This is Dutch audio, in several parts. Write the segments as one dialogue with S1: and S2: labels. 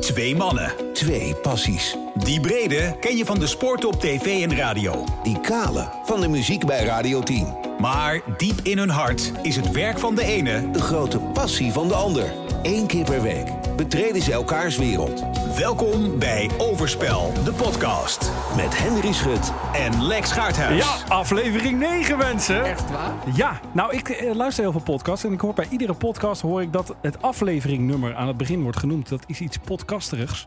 S1: Twee mannen.
S2: Twee passies.
S1: Die brede ken je van de sport op tv en radio.
S2: Die kale van de muziek bij Radio 10.
S1: Maar diep in hun hart is het werk van de ene...
S2: De grote passie van de ander. Eén keer per week betreden ze elkaars wereld.
S1: Welkom bij Overspel, de podcast.
S2: Met Henry Schut.
S1: En Lex Gaardhuis.
S3: Ja, aflevering 9 mensen.
S4: Echt waar?
S3: Ja, nou ik eh, luister heel veel podcasts en ik hoor bij iedere podcast hoor ik dat het afleveringnummer aan het begin wordt genoemd. Dat is iets podcasterigs.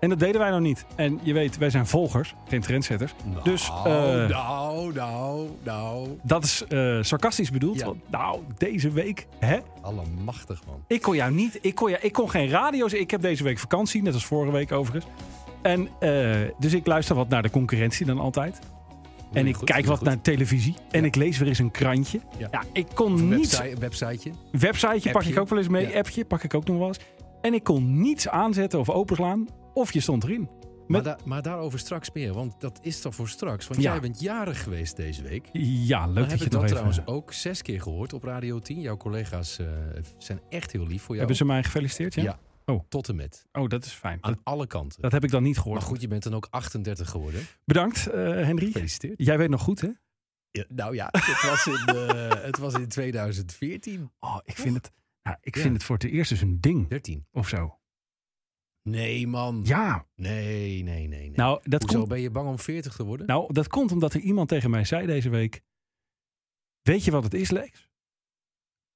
S3: En dat deden wij nou niet. En je weet, wij zijn volgers, geen trendsetters. dus eh,
S4: Oh, nou, nou, nou.
S3: dat is eh, sarcastisch bedoeld.
S4: Ja.
S3: Want, nou, deze week, hè?
S4: Allemachtig, man.
S3: Ik kon jou niet, ik kon, jou, ik kon geen radio's. Ik heb deze week vakantie, net als vorige week overigens. En eh, dus ik luister wat naar de concurrentie dan altijd. En ik
S4: goed,
S3: kijk
S4: doe je
S3: wat
S4: goed.
S3: naar televisie. En ik lees weer eens een krantje. Ja,
S4: Ja.
S3: ik kon niets.
S4: Website, websiteje.
S3: Websiteje pak
S4: Appje.
S3: ik ook wel eens mee.
S4: Ja.
S3: Appje pak ik ook nog wel eens. En ik kon niets aanzetten of openslaan. Of je stond erin.
S4: Maar, da- maar daarover straks meer, want dat is toch voor straks. Want
S3: Ja.
S4: jij bent jarig geweest deze week.
S3: Ja, leuk
S4: Dan
S3: dat
S4: heb
S3: je
S4: ik
S3: het nog
S4: dat
S3: even...
S4: trouwens ook zes keer gehoord op Radio 10. Jouw collega's eh, zijn echt heel lief voor jou.
S3: Hebben ze mij gefeliciteerd? Ja.
S4: Ja.
S3: Oh.
S4: Tot en met.
S3: Oh, dat is fijn.
S4: Aan
S3: Dat,
S4: alle kanten.
S3: dat heb ik dan niet
S4: Maar
S3: gehoord.
S4: goed, je bent dan ook 38 geworden.
S3: Bedankt, eh Henry.
S4: Gefeliciteerd.
S3: Jij weet nog goed, hè?
S4: nou ja, het was, in, eh, het was in 2014.
S3: Oh, ik vind het, nou, ik
S4: Ja.
S3: vind het voor het eerst dus een ding
S4: 13.
S3: of zo.
S4: Nee, man.
S3: Ja.
S4: Nee, nee, nee. nee.
S3: Nou dat,
S4: Hoezo,
S3: komt,
S4: ben je bang om 40 te worden?
S3: nou, dat komt omdat er iemand tegen mij zei deze week. Weet je wat het is, Lex?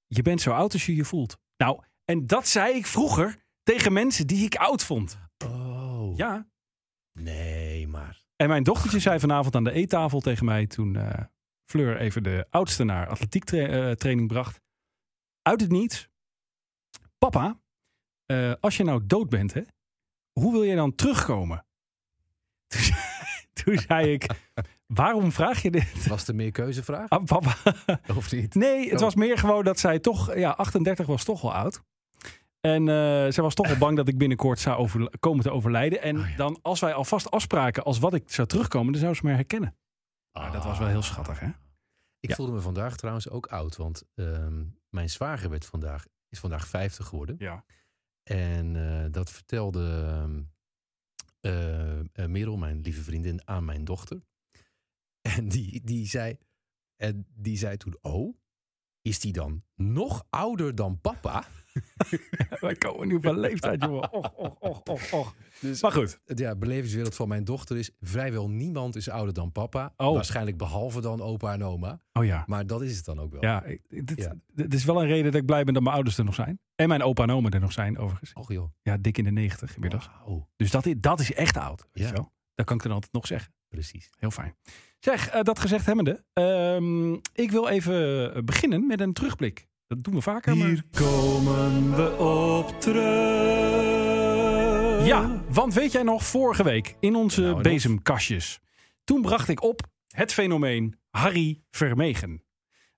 S3: Je bent zo oud als je je voelt. Nou, en dat zei ik vroeger tegen mensen die ik oud vond.
S4: Oh.
S3: Ja.
S4: Nee, maar.
S3: En mijn dochtertje zei vanavond aan de eettafel tegen mij toen eh, Fleur even de oudste naar atletiek tra- eh, training bracht. Uit het niets. Papa, eh, als je nou dood bent, hè, hoe wil je dan terugkomen? Toen, ze- toen zei ik, waarom vraag je dit
S4: Was er meer keuzevraag?
S3: aan papa?
S4: Of niet?
S3: Nee, het
S4: Oh.
S3: was meer gewoon dat zij toch, ja, 38 was toch wel oud. En eh zij was toch wel bang dat ik binnenkort zou overl- komen te overlijden. En
S4: Oh ja.
S3: dan, als wij alvast afspraken als wat ik zou terugkomen, dan zou ze me herkennen. Maar Ah, dat was wel heel schattig, hè?
S4: Ik
S3: Ja.
S4: voelde me vandaag trouwens ook oud, want ehm, mijn zwager werd vandaag, is vandaag 50 geworden.
S3: Ja.
S4: En eh, dat vertelde ehm eh, eh, Merel, mijn lieve vriendin, aan mijn dochter. En die, die, zei, en die zei toen, oh, is die dan nog ouder dan papa?
S3: Wij komen nu op een leeftijd, jongen. Och, och, och, och, och.
S4: Dus-
S3: maar goed.
S4: Ja, belevingswereld van mijn dochter is, vrijwel niemand is ouder dan papa.
S3: Oh.
S4: Waarschijnlijk behalve dan opa en oma.
S3: Oh ja.
S4: Maar dat is het dan ook wel.
S3: Ja, ik- dit,
S4: Ja.
S3: dit is wel een reden dat ik blij ben dat mijn ouders er nog zijn. En mijn opa en oma er nog zijn, overigens.
S4: Och joh.
S3: Ja, dik in de 90 inmiddels.
S4: Wauw.
S3: Dus dat is, dat is echt oud. Weet
S4: Ja.
S3: je wel? Dat kan ik dan altijd nog zeggen.
S4: Precies.
S3: Heel fijn. Zeg, eh, dat gezegd hebbende. ehm, ik wil even beginnen met een terugblik. Dat doen we vaker. maar-
S4: komen we op terug.
S3: Ja, want weet jij nog, vorige week in onze
S4: Nou, en of?
S3: bezemkastjes. Toen bracht ik op het fenomeen Harry Vermegen.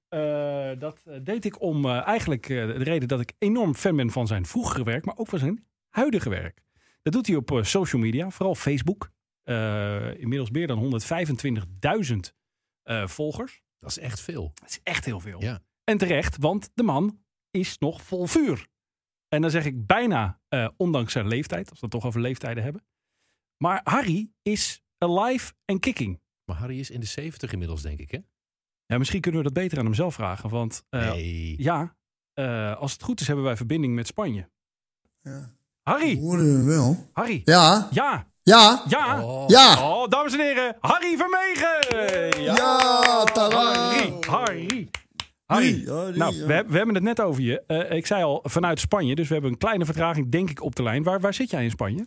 S3: Eh, dat eh, deed ik om eh, eigenlijk eh, de reden dat ik enorm fan ben van zijn vroegere werk, maar ook van zijn huidige werk. Dat doet hij op eh, social media, vooral Facebook. Eh, inmiddels meer dan 125.000 eh, volgers.
S4: Dat is echt veel.
S3: Dat is echt heel veel.
S4: Ja.
S3: En terecht, want de man is nog vol vuur. En dan zeg ik bijna, eh, ondanks zijn leeftijd, als we het toch over leeftijden hebben. Maar Harry is alive en kicking.
S4: Maar Harry is in de 70 inmiddels, denk ik, hè?
S3: Ja, misschien kunnen we dat beter aan hem zelf vragen. Want eh,
S4: nee.
S3: ja, eh, als het goed is, hebben wij verbinding met Spanje.
S5: Ja.
S3: Harry,
S5: Hoorden we wel?
S3: Harry.
S5: Ja,
S3: Ja,
S5: ja,
S3: ja.
S4: Oh,
S5: ja.
S3: Oh, dames en heren, Harry Vermegen!
S5: Ja, tadaa.
S3: Harry, Harry. Harry,
S5: Harry,
S3: nou,
S5: ja.
S3: we, heb- we hebben het net over je. Eh, ik zei al, vanuit Spanje, dus we hebben een kleine vertraging, denk ik, op de lijn. Waar, waar zit jij in Spanje?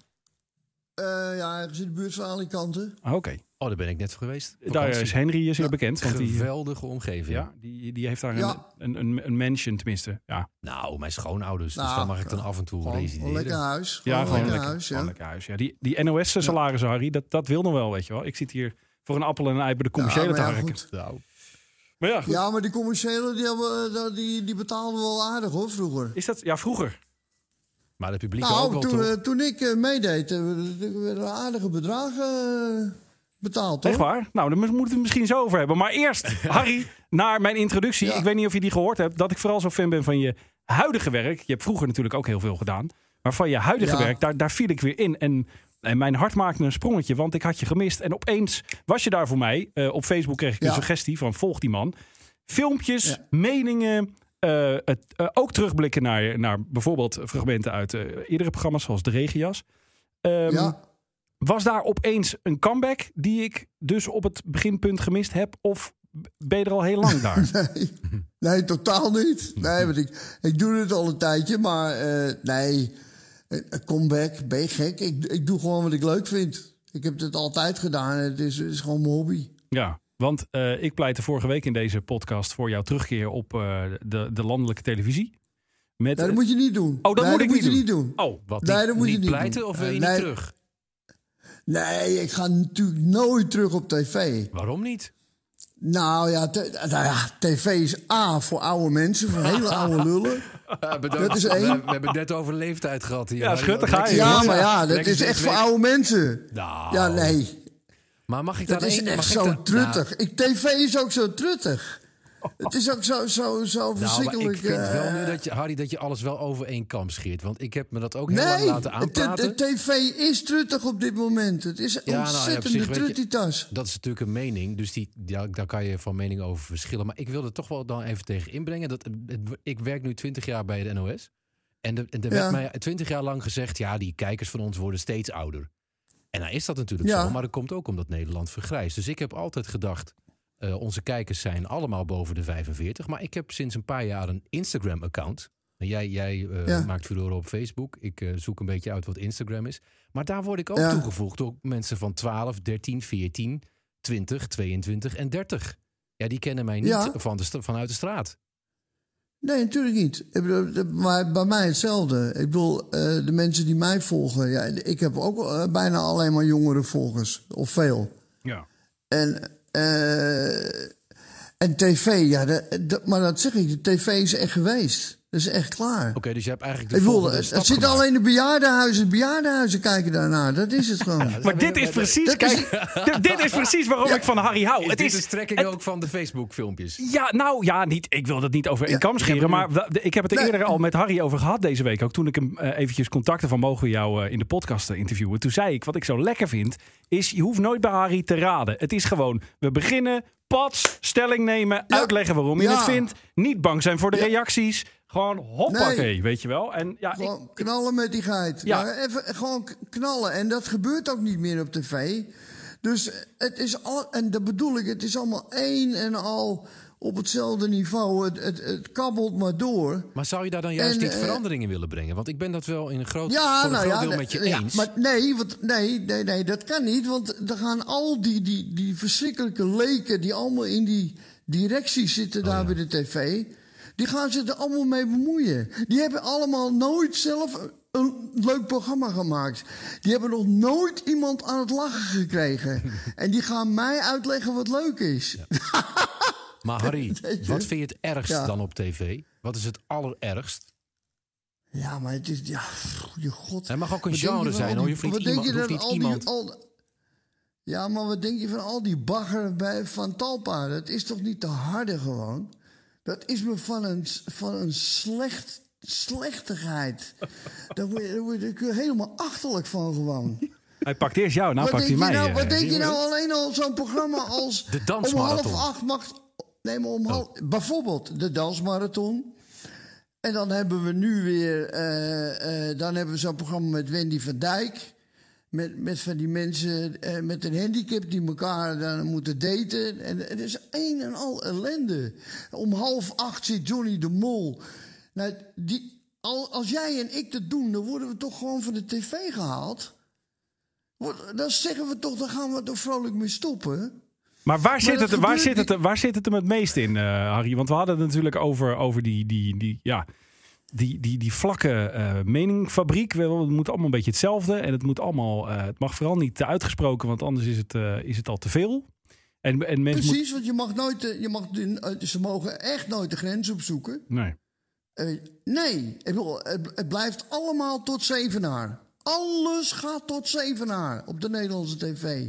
S5: Eh, ja, ergens in de buurt van Alicante.
S3: Ah, Oké,
S4: Oh, daar ben ik net voor geweest.
S3: daar
S4: Vakantie.
S3: is Henry eh, zeer bekend. Want die,
S4: Geweldige omgeving.
S3: ja, die, die heeft daar
S5: Ja.
S3: een, een, een, een mansion, tenminste. Ja,
S4: Nou, mijn schoonouders. dus
S5: Nou,
S4: daar mag ik dan af en toe
S5: Gewoon
S4: resideren.
S5: een lekker huis. Gewoon
S3: ja
S5: een
S3: gewoon
S5: Oh, lekker
S3: lekker
S5: huis,
S3: gewoon
S5: ja.
S3: lekker huis. Ja, die die NOS-salarissen, Harry, dat, dat wil nog wel, weet je wel. Ik zit hier voor een appel en een ei bij de commerciële
S5: maar
S3: te
S5: ja,
S3: harken.
S5: goed.
S4: Nou,
S3: Maar ja, goed.
S5: Ja, maar die commerciële, die, hebben, eh, die, die betaalden wel aardig hoor, vroeger.
S3: Is dat, ja, vroeger.
S4: maar het publiek ook
S5: Nou,
S4: wel,
S5: toen,
S4: toch?
S5: eh, toen ik eh, meedeed, eh, werden werden aardige bedragen eh, betaald,
S3: Echt
S5: toch?
S3: waar? Nou, dan mo- moeten we het misschien zo over hebben. Maar eerst, Harry, naar mijn introductie.
S5: Ja.
S3: Ik weet niet of je die gehoord hebt. Dat ik vooral zo fan ben van je huidige werk. Je hebt vroeger natuurlijk ook heel veel gedaan. Maar van je huidige
S5: Ja.
S3: werk, daar, daar viel ik weer in. En, en mijn hart maakte een sprongetje, want ik had je gemist. En opeens was je daar voor mij. Eh, op Facebook kreeg ik
S5: Ja.
S3: een suggestie van volg die man. Filmpjes,
S5: Ja.
S3: meningen. eh, het, eh, ook terugblikken naar, naar bijvoorbeeld fragmenten uit eh, eerdere programma's zoals De Regenjas. Ehm,
S5: ja.
S3: Was daar opeens een comeback die ik dus op het beginpunt gemist heb? Of ben je er al heel lang daar?
S5: Nee, nee, totaal niet. Nee, want ik, ik doe het al een tijdje, maar eh, nee, eh, comeback, ben je gek? Ik, ik doe gewoon wat ik leuk vind. Ik heb het altijd gedaan. Het is, is gewoon mijn hobby.
S3: Ja, want eh, ik pleitte vorige week in deze podcast voor jouw terugkeer op eh, de, de landelijke televisie. Met,
S5: Nee, dat moet je niet doen.
S3: Oh, dat
S5: nee,
S3: moet ik niet
S5: je
S3: doen.
S5: niet doen.
S3: Oh,
S4: Wat,
S5: Nee,
S4: niet-
S5: dat moet je
S4: niet
S5: niet
S4: pleiten
S5: doen.
S4: of wil je
S5: Eh,
S4: niet
S5: nee.
S4: terug?
S5: Nee, ik ga natuurlijk nooit terug op tv.
S4: Waarom niet?
S5: Nou ja, te- nou ja, tv is A voor oude mensen, voor hele oude lullen. Dat eh, is
S4: We, we
S5: één.
S4: hebben het net over leeftijd gehad hier.
S3: Ja, schut, daar ga je.
S5: Ja, maar ja, dat
S4: Lekker
S5: is echt voor
S4: weg.
S5: oude mensen.
S4: Nou,
S5: Ja, nee,
S4: Maar mag ik
S5: dat
S4: daar
S5: is
S4: één-
S5: echt
S4: mag ik
S5: zo
S4: daar- nou,
S5: truttig. Ik, tv is ook zo truttig. Het is ook zo, zo, zo
S4: Nou, nou, maar
S5: verschrikkelijk.
S4: ik vind
S5: eh,
S4: wel nu dat je, Harry, dat je alles wel over één kam scheert. Want ik heb me dat ook heel lang
S5: Nee,
S4: laten
S5: het-
S4: aanpraten.
S5: het- het tv is truttig op dit moment. Het is
S4: nou ja, op
S5: ontzettend
S4: zich,
S5: ja,
S4: weet je-
S5: truttitas.
S4: Dat is natuurlijk een mening, dus die, ja, daar kan je van mening over verschillen. Maar ik wil er toch wel dan even tegen inbrengen. Dat, het- ik werk nu 20 jaar bij de NOS. En de- en er werd
S5: Ja.
S4: mij 20 jaar lang gezegd, ja, die kijkers van ons worden steeds ouder. En nou is dat natuurlijk
S5: Ja.
S4: zo, maar dat komt ook omdat Nederland vergrijst. Dus ik heb altijd gedacht, eh, onze kijkers zijn allemaal boven de 45. Maar ik heb sinds een paar jaar een Instagram-account. En Jij, jij eh,
S5: Ja.
S4: maakt furoren op Facebook. Ik eh, zoek een beetje uit wat Instagram is. Maar daar word ik ook
S5: Ja.
S4: toegevoegd door mensen van 12, 13, 14, 20, 22 en 30. Ja, die kennen mij niet
S5: Ja.
S4: van de sta- vanuit de straat.
S5: Nee, natuurlijk niet. Ik bedoel, de- Maar bij mij hetzelfde. Ik bedoel, eh, de mensen die mij volgen... Ja, ik heb ook eh, bijna alleen maar jongere volgers. Of veel.
S3: ja.
S5: En, eh, en tv, ja, dat, dat- maar dat zeg ik, de tv is echt geweest. Dat is echt klaar.
S4: Oké, dus je hebt eigenlijk de
S5: Ik bedoel,
S4: volgende
S5: het,
S4: stap
S5: het zitten
S4: gemaakt.
S5: alleen de bejaardenhuizen. De bejaardenhuizen kijken daarnaar. Dat is het gewoon.
S3: Maar dit is precies,
S5: Dat is-
S3: kijk, dit- dit is precies waarom ik van Harry hou.
S4: Is
S3: het
S4: dit
S3: is
S4: de strekking ook van de Facebook-filmpjes?
S3: Ja, nou ja, niet, ik wil dat niet over één
S5: Ja,
S3: kam scheren. Maar wa- de- ik heb het er
S5: Nee.
S3: eerder al met Harry over gehad deze week. Ook toen ik hem eh, eventjes contacte van mogen we jou eh, in de podcast eh, interviewen. Toen zei ik, wat ik zo lekker vind, is je hoeft nooit bij Harry te raden. Het is gewoon, we beginnen, pats, stelling nemen,
S5: Ja.
S3: uitleggen waarom je
S5: Ja.
S3: het vindt. Niet bang zijn voor de
S5: Ja.
S3: reacties. Gewoon hoppakee,
S5: Nee.
S3: weet je wel. En ja, ik,
S5: Gewoon knallen met die geit.
S3: Ja.
S5: Ja. even gewoon k- knallen. En dat gebeurt ook niet meer op tv. Dus het is al, en dat bedoel ik, het is allemaal één en al op hetzelfde niveau. Het, het, het kabbelt maar door.
S4: Maar zou je daar dan juist
S5: En,
S4: niet
S5: eh,
S4: verandering in willen brengen? Want ik ben dat wel in een groot,
S5: Ja,
S4: voor een
S5: nou
S4: groot
S5: ja,
S4: deel
S5: nee,
S4: met je
S5: ja,
S4: eens.
S5: Maar nee, want, nee, nee, nee, dat kan niet. Want er gaan al die, die, die verschrikkelijke leken die allemaal in die directies
S4: Oh
S5: zitten daar bij de tv. Die gaan zich er allemaal mee bemoeien. Die hebben allemaal nooit zelf een leuk programma gemaakt. Die hebben nog nooit iemand aan het lachen gekregen. en die gaan mij uitleggen wat leuk is.
S4: Maar Harry,
S5: Weet je?
S4: wat vind je het ergst
S5: Ja.
S4: dan op tv? Wat is het allerergst?
S5: Ja, maar het is. Ja, pff, goeie god.
S4: Het mag ook een
S5: Wat
S4: genre
S5: denk van
S4: zijn,
S5: al
S4: hoor.
S5: die-
S4: Je hoeft niet
S5: wat denk
S4: iemand-
S5: je
S4: het hoeft
S5: dan
S4: niet
S5: al die- al- ja, maar wat denk je van al die bagger bij Van Talpa? Dat is toch niet te harde gewoon? Dat is me van een, van een slecht, slechtigheid. daar, word je, daar word je- daar kun je helemaal achterlijk van gewoon.
S3: hij pakt eerst jou, nou
S5: wat
S3: pakt hij
S5: denk
S3: mij.
S5: je nou,
S3: eh,
S5: wat denk je
S3: Jeroen.
S5: nou alleen al zo'n programma als...
S4: De dansmarathon.
S5: Om half acht mag... Nee, maar om
S3: Oh.
S5: half... Bijvoorbeeld de dansmarathon. En dan hebben we nu weer... eh, eh, dan hebben we zo'n programma met Wendy van Dijk. Met, met van die mensen eh, met een handicap die elkaar dan moeten daten. En het is een en al ellende. Om half acht zit Johnny de Mol. Nou, die, al, als jij en ik dat doen, dan worden we toch gewoon van de tv gehaald. Wat- Dan zeggen we toch, dan gaan we toch vrolijk mee stoppen.
S3: Maar waar, zit,
S5: dat
S3: het, waar,
S5: gebeurt
S3: zit, het,
S5: niet.
S3: waar zit het hem het meest in, eh, Harry? Want we hadden het natuurlijk over, over die, die, die, ja, die, die, die vlakke eh meningfabriek. Wel, Het moet allemaal een beetje hetzelfde. En het, moet allemaal, eh, het mag vooral niet te uitgesproken, want anders is het, eh, is het al te veel. En, en mensen moeten-
S5: Precies, want je mag nooit, eh, je mag, de- eh, ze mogen echt nooit de grens opzoeken.
S3: Nee.
S5: Eh, nee, ik bedoel, het, het blijft allemaal tot zevenaar. Alles gaat tot zevenaar op de Nederlandse tv.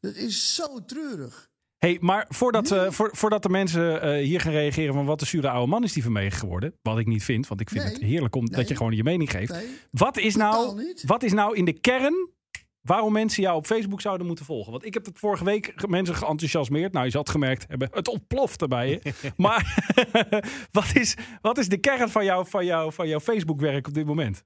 S5: Dat is zo treurig.
S3: hey, maar voordat, eh, voor, voordat de mensen eh, hier gaan reageren van wat een zure oude man is die Vermegen geworden. Wat ik niet vind, want ik vind
S5: Nee.
S3: het heerlijk om, dat je
S5: Nee.
S3: gewoon je mening geeft.
S5: Nee.
S3: Wat is,
S5: Totaal
S3: nou,
S5: niet.
S3: wat is nou in de kern waarom mensen jou op Facebook zouden moeten volgen? Want ik heb het vorige week ge- mensen geenthousiasmeerd. Nou, je zal het gemerkt hebben, het ontplofte bij je. maar wat, is, wat is de kern van, jou, van, jou, van jouw Facebook-werk op dit moment?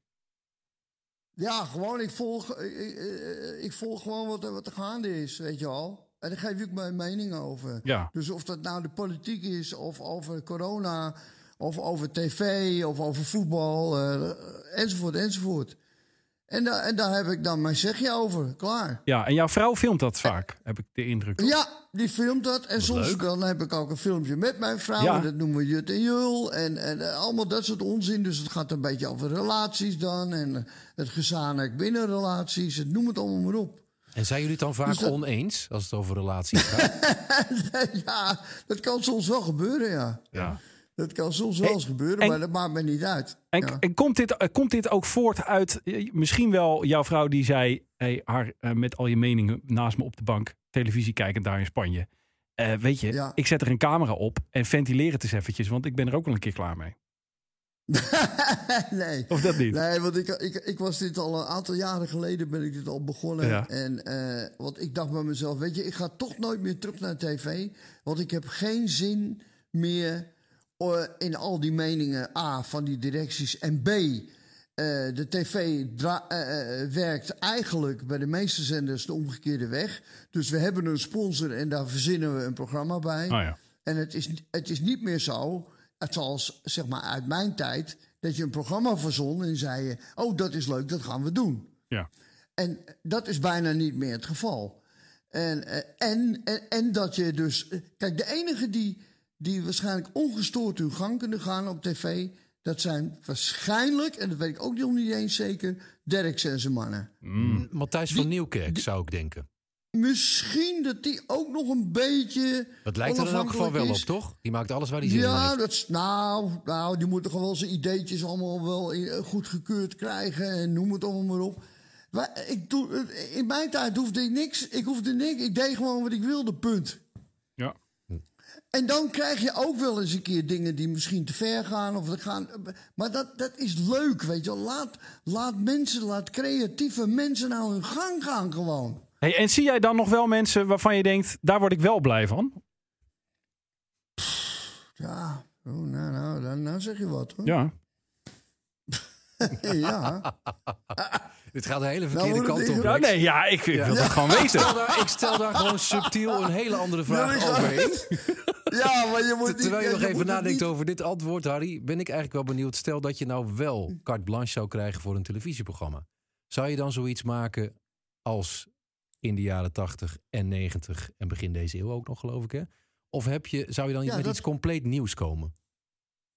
S5: Ja, gewoon, ik volg, eh, eh, eh, ik volg gewoon wat, er- wat er gaande is, weet je al. En daar geef ik mijn mening over.
S3: Ja.
S5: Dus of dat nou de politiek is, of over corona, of over tv, of over voetbal, eh, enzovoort, enzovoort. En, da en daar heb ik dan mijn zegje over, klaar.
S3: Ja, en jouw vrouw filmt dat vaak, heb ik de indruk.
S5: Ja, die filmt dat. En soms
S4: leuk.
S5: dan heb ik ook een filmpje met mijn vrouw.
S3: Ja.
S5: En dat noemen we Jut en Jul. En, en eh, allemaal dat soort onzin. Dus het gaat een beetje over relaties dan. En eh, het gezanik binnen relaties. Het noem het allemaal maar op.
S4: En zijn jullie het dan vaak
S5: Dus dat-
S4: oneens als het over relaties gaat?
S5: ja, dat kan soms wel gebeuren, ja.
S4: ja.
S5: Dat kan soms wel eens gebeuren,
S3: en-
S5: maar dat maakt me niet uit.
S3: En,
S5: ja.
S3: en komt, dit, eh, komt dit ook voort uit eh, misschien wel jouw vrouw die zei... Hey, haar eh, met al je meningen naast me op de bank, televisie kijkend daar in Spanje. Eh, weet je,
S5: Ja.
S3: ik zet er een camera op en ventileer het eens eventjes... want ik ben er ook wel een keer klaar mee.
S5: nee.
S3: Of dat niet?
S5: Nee, want ik, ik, ik was dit al een aantal jaren geleden ben ik dit al begonnen.
S3: Ja.
S5: En eh, want ik dacht bij mezelf, weet je, ik ga toch nooit meer terug naar tv. Want ik heb geen zin meer eh, in al die meningen. A, van die directies. En B, eh, de tv dra- eh, eh, werkt eigenlijk bij de meeste zenders de omgekeerde weg. Dus we hebben een sponsor en daar verzinnen we een programma bij.
S3: Oh ja.
S5: En het is, het is niet meer zo, het zoals zeg maar uit mijn tijd, dat je een programma verzon en zei je: Oh, dat is leuk, dat gaan we doen.
S3: Ja.
S5: En dat is bijna niet meer het geval. En, eh, en, en, en dat je dus. eh, Kijk, de enige die, die waarschijnlijk ongestoord hun gang kunnen gaan op tv. Dat zijn waarschijnlijk, en dat weet ik ook nog niet eens zeker, Derks en zijn mannen.
S4: Hmm. Matthijs van Nieuwkerk zou ik denken.
S5: Misschien dat die ook nog een beetje.
S4: Het lijkt er in elk geval
S5: onafhankelijk
S4: wel
S5: is.
S4: op, toch? Die maakt alles waar hij zin in
S5: Ja,
S4: heeft.
S5: dat is, nou, nou, die moeten gewoon zijn ideetjes allemaal wel eh, goedgekeurd krijgen en noem het allemaal maar op. Maar ik doe, eh, in mijn tijd hoefde ik niks. Ik hoefde niks. Ik deed gewoon wat ik wilde, punt.
S3: Ja.
S5: En dan krijg je ook wel eens een keer dingen die misschien te ver gaan. Of dat gaan maar dat, dat is leuk, weet je wel. Laat, laat mensen, laat creatieve mensen nou hun gang gaan gewoon.
S3: Hey, en zie jij dan nog wel mensen waarvan je denkt, daar word ik wel blij van?
S5: Ja, oh, nou, nou, nou, nou zeg je wat hoor.
S3: Ja.
S5: ja.
S4: Dit gaat de hele verkeerde
S5: Nou, moet
S4: kant
S5: het
S4: op.
S5: niet-
S3: Ja,
S4: Lex.
S3: Ah, nee, ja, ik, ik wil dat gewoon
S4: Ik
S3: weten.
S4: stel daar- ik stel daar gewoon subtiel een hele andere
S5: Nou, ik
S4: vraag
S5: ga-
S4: overheen.
S5: Ja, maar je moet niet-
S4: Terwijl je nog
S5: moet
S4: even
S5: het
S4: nadenkt
S5: niet-
S4: over dit antwoord, Harry, ben ik eigenlijk wel benieuwd. Stel dat je nou wel carte blanche zou krijgen voor een televisieprogramma. Zou je dan zoiets maken als in de jaren 80 en 90 en begin deze eeuw ook nog, geloof ik, hè? Of heb je, zou je dan niet
S5: Ja,
S4: met
S5: dat-
S4: iets compleet nieuws komen?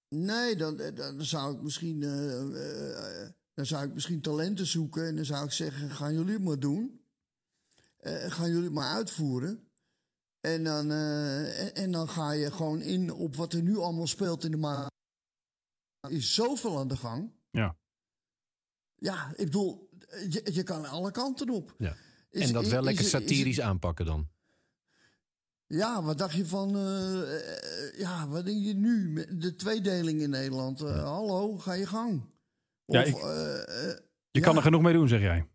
S5: Nee, dan, dan- dan zou ik misschien. eh, eh, eh, dan zou ik misschien talenten zoeken en dan zou ik zeggen: gaan jullie het maar doen. Eh, gaan jullie het maar uitvoeren. En dan, eh, en, en dan ga je gewoon in op wat er nu allemaal speelt in de maand. Er is zoveel aan de gang.
S3: Ja.
S5: Ja, ik bedoel, je, je kan alle kanten op.
S4: Ja.
S5: Is-
S4: en dat wel
S5: is-
S4: lekker
S5: is- is-
S4: satirisch aanpakken dan.
S5: Ja, wat dacht je van. eh, eh, ja, wat denk je nu? met De tweedeling in Nederland. Eh, Hallo, ga je gang. Of,
S3: Ja, ik-
S5: eh, eh,
S3: Je kan er genoeg mee doen, zeg jij.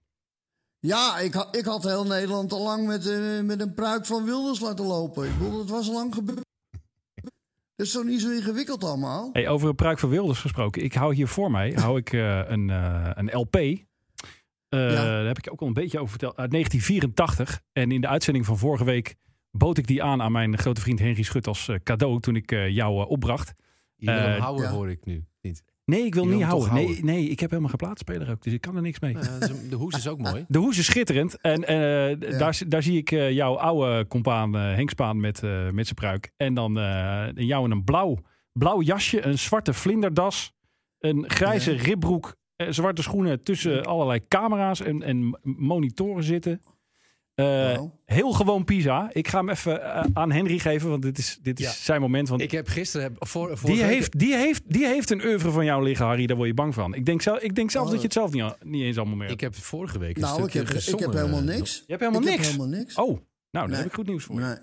S5: ja ik, ha- ik had heel Nederland al lang met, eh, met een pruik van Wilders laten lopen. Ik bedoel, dat was al lang gebeurd. Dat is toch niet zo ingewikkeld allemaal?
S3: Hey, over een pruik van Wilders gesproken. Ik hou hier voor mij hou ik, eh, een, eh, een LP. Eh, Daar heb ik je ook al een beetje over verteld. Uit 1984. En in de uitzending van vorige week bood ik die aan aan mijn grote vriend Henry Schut als eh, cadeau toen ik eh, jou eh, opbracht.
S4: Je wil
S3: Eh,
S4: hem houden
S5: ja.
S4: hoor ik nu niet.
S3: Nee, ik wil
S4: Je wil
S3: niet
S4: hem toch
S3: houden. Nee,
S4: houden?
S3: nee, ik heb helemaal geen plaatspeler ook, dus ik kan er niks mee.
S4: Eh, dat is- de hoes is ook mooi.
S3: De hoes is schitterend. En eh, d-
S5: Ja.
S3: daar, zi- daar zie ik eh, jouw oude compaan eh, Henk Spaan met, eh, met zijn pruik. En dan eh, jou in een blauw, blauw jasje, een zwarte vlinderdas, een grijze ribbroek, eh, zwarte schoenen tussen allerlei camera's en, en monitoren zitten. Eh,
S5: Wauw.
S3: Heel gewoon Pisa. Ik ga hem even eh, aan Henry geven, want dit is, dit is
S4: Ja.
S3: zijn moment. Want
S4: Ik heb gisteren... Heb, voor, vorige
S3: die,
S4: week-
S3: heeft, die, heeft, die heeft een oeuvre van jou liggen, Harry. Daar word je bang van. Ik denk, zelf, ik denk zelfs
S5: Oh.
S3: dat je het zelf niet, al- niet eens allemaal merkt.
S4: Ik heb vorige week een
S5: nou, ik
S4: stukje
S5: heb, ik
S4: gezongen.
S5: heb helemaal
S4: eh,
S5: niks.
S3: je hebt helemaal
S5: ik
S3: niks.
S5: Heb helemaal niks.
S3: Oh, nou, daar
S5: Nee.
S3: heb ik goed nieuws voor je.
S5: Nee.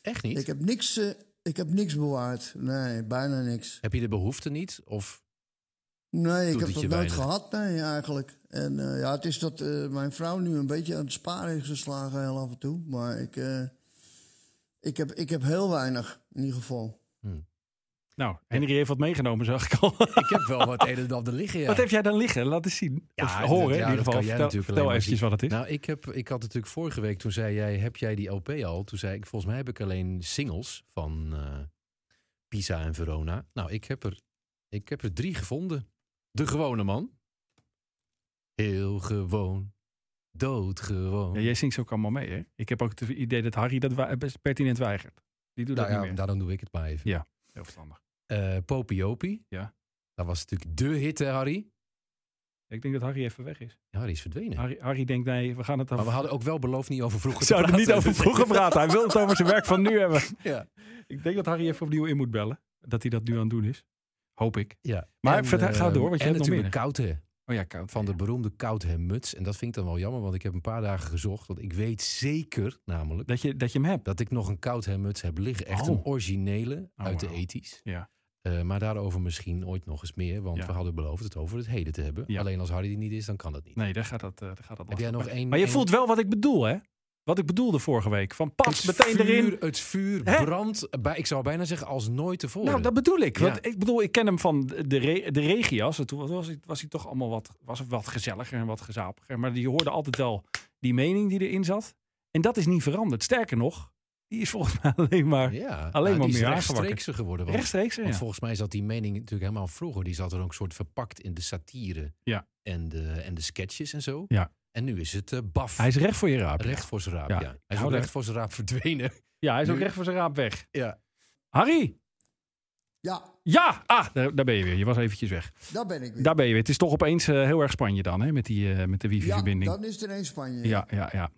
S4: Echt niet?
S5: Ik heb niks, eh, ik heb niks bewaard. Nee, bijna niks.
S4: Heb je de behoefte niet? Of
S5: Nee,
S4: Doet
S5: ik heb
S4: het
S5: dat
S4: je
S5: nooit
S4: weinig?
S5: gehad, nee, eigenlijk. En eh, ja, het is dat eh, mijn vrouw nu een beetje aan het sparen is geslagen, heel af en toe. Maar ik, eh, ik, heb, ik heb heel weinig, in ieder geval.
S3: Nou, Henry heeft wat meegenomen, zag ik al.
S4: ik heb wel wat een en ander liggen. Ja.
S3: Wat heeft jij dan liggen? Laat eens zien.
S4: Ja,
S3: of
S4: dat-
S3: horen,
S4: ja,
S3: in ieder
S4: dat
S3: geval.
S4: kan jij
S3: Vertel,
S4: natuurlijk
S3: vertel
S4: alleen maar
S3: eventjes wat het is.
S4: Nou, ik, heb, ik had natuurlijk vorige week, toen zei jij, heb jij die LP al? Toen zei ik, volgens mij heb ik alleen singles van eh, Pisa en Verona. Nou, ik heb, er, ik heb er drie gevonden. De gewone man. Heel gewoon. Doodgewoon.
S3: Ja, jij zingt ze ook allemaal mee, hè? Ik heb ook het idee dat Harry dat wa- best pertinent weigert. Die doet dat
S4: nou, ja,
S3: niet meer.
S4: daarom doe ik het maar even.
S3: Ja. Heel verstandig.
S4: Eh, Popiopi.
S3: Ja.
S4: Dat was natuurlijk de hit, hè, Harry?
S3: Ik denk dat Harry even weg is.
S4: Harry is verdwenen.
S3: Harry, Harry denkt, nee, we gaan het...
S4: Maar we hadden ook wel beloofd niet over vroeger
S3: Ik
S4: te
S3: zou er niet
S4: praten.
S3: over vroeger praten. Hij wil het over zijn werk van nu hebben.
S4: Ja.
S3: Ik denk dat Harry even opnieuw in moet bellen. Dat hij dat nu aan het doen is. Hoop ik.
S4: Ja.
S3: Maar vertel- ga
S4: eh,
S3: door, want je
S4: en
S3: hebt nog
S4: natuurlijk Koudhe,
S3: Oh ja, koud.
S4: van de beroemde Koudhe muts. En dat vind ik dan wel jammer, want ik heb een paar dagen gezocht. Want ik weet zeker namelijk
S3: Dat je, dat je hem hebt.
S4: dat ik nog een Koudhe muts heb liggen. Echt
S3: Oh.
S4: een originele
S3: Oh,
S4: uit
S3: wauw.
S4: de 80s.
S3: Ja.
S4: Eh, maar daarover misschien ooit nog eens meer, want
S3: Ja.
S4: we hadden beloofd het over het heden te hebben.
S3: Ja.
S4: Alleen als Harry er niet is, dan kan dat niet.
S3: Nee, daar gaat dat, eh, daar gaat dat
S4: Heb jij
S3: lastig.
S4: nog één?
S3: Maar je
S4: één-
S3: voelt wel wat ik bedoel, hè? Wat ik bedoelde vorige week. Van
S4: het
S3: pas, meteen
S4: vuur,
S3: erin.
S4: Het vuur
S3: Hè?
S4: brandt, bij, ik zou bijna zeggen, als nooit tevoren.
S3: Nou, dat bedoel ik. Want
S4: Ja.
S3: ik bedoel, ik ken hem van de, re de regias. En Toen was hij, was hij toch allemaal wat, was het wat gezelliger en wat gezapiger. Maar je hoorde altijd wel die mening die erin zat. En dat is niet veranderd. Sterker nog, die is volgens mij alleen maar
S4: ja. Nou,
S3: alleen maar
S4: die is
S3: meer
S4: rechtstreekser geworden. want-
S3: rechtstreeks. hè?
S4: Want
S3: Ja.
S4: volgens mij zat die mening natuurlijk helemaal vroeger. Die zat er ook een soort verpakt in de satire
S3: Ja.
S4: en, de, en de sketches en zo.
S3: Ja.
S4: En nu is het eh, baf.
S3: Hij is recht voor je raap.
S4: recht voor zijn raap.
S3: Ja.
S4: Ja. Hij is
S3: hou
S4: ook
S3: daar-
S4: recht voor zijn raap verdwenen.
S3: Ja, hij is ook
S4: Nu-
S3: recht voor zijn raap weg.
S4: Ja.
S3: Harry!
S5: Ja,
S3: Ja! Ah, daar, daar ben je weer. Je was eventjes weg.
S5: daar ben ik weer.
S3: Daar ben je weer. Het is toch opeens eh, heel erg Spanje dan, hè? Met, die, eh, met de
S5: ja,
S3: wifi-verbinding.
S5: dan is het ineens Spanje.
S3: Ja, ja, ja.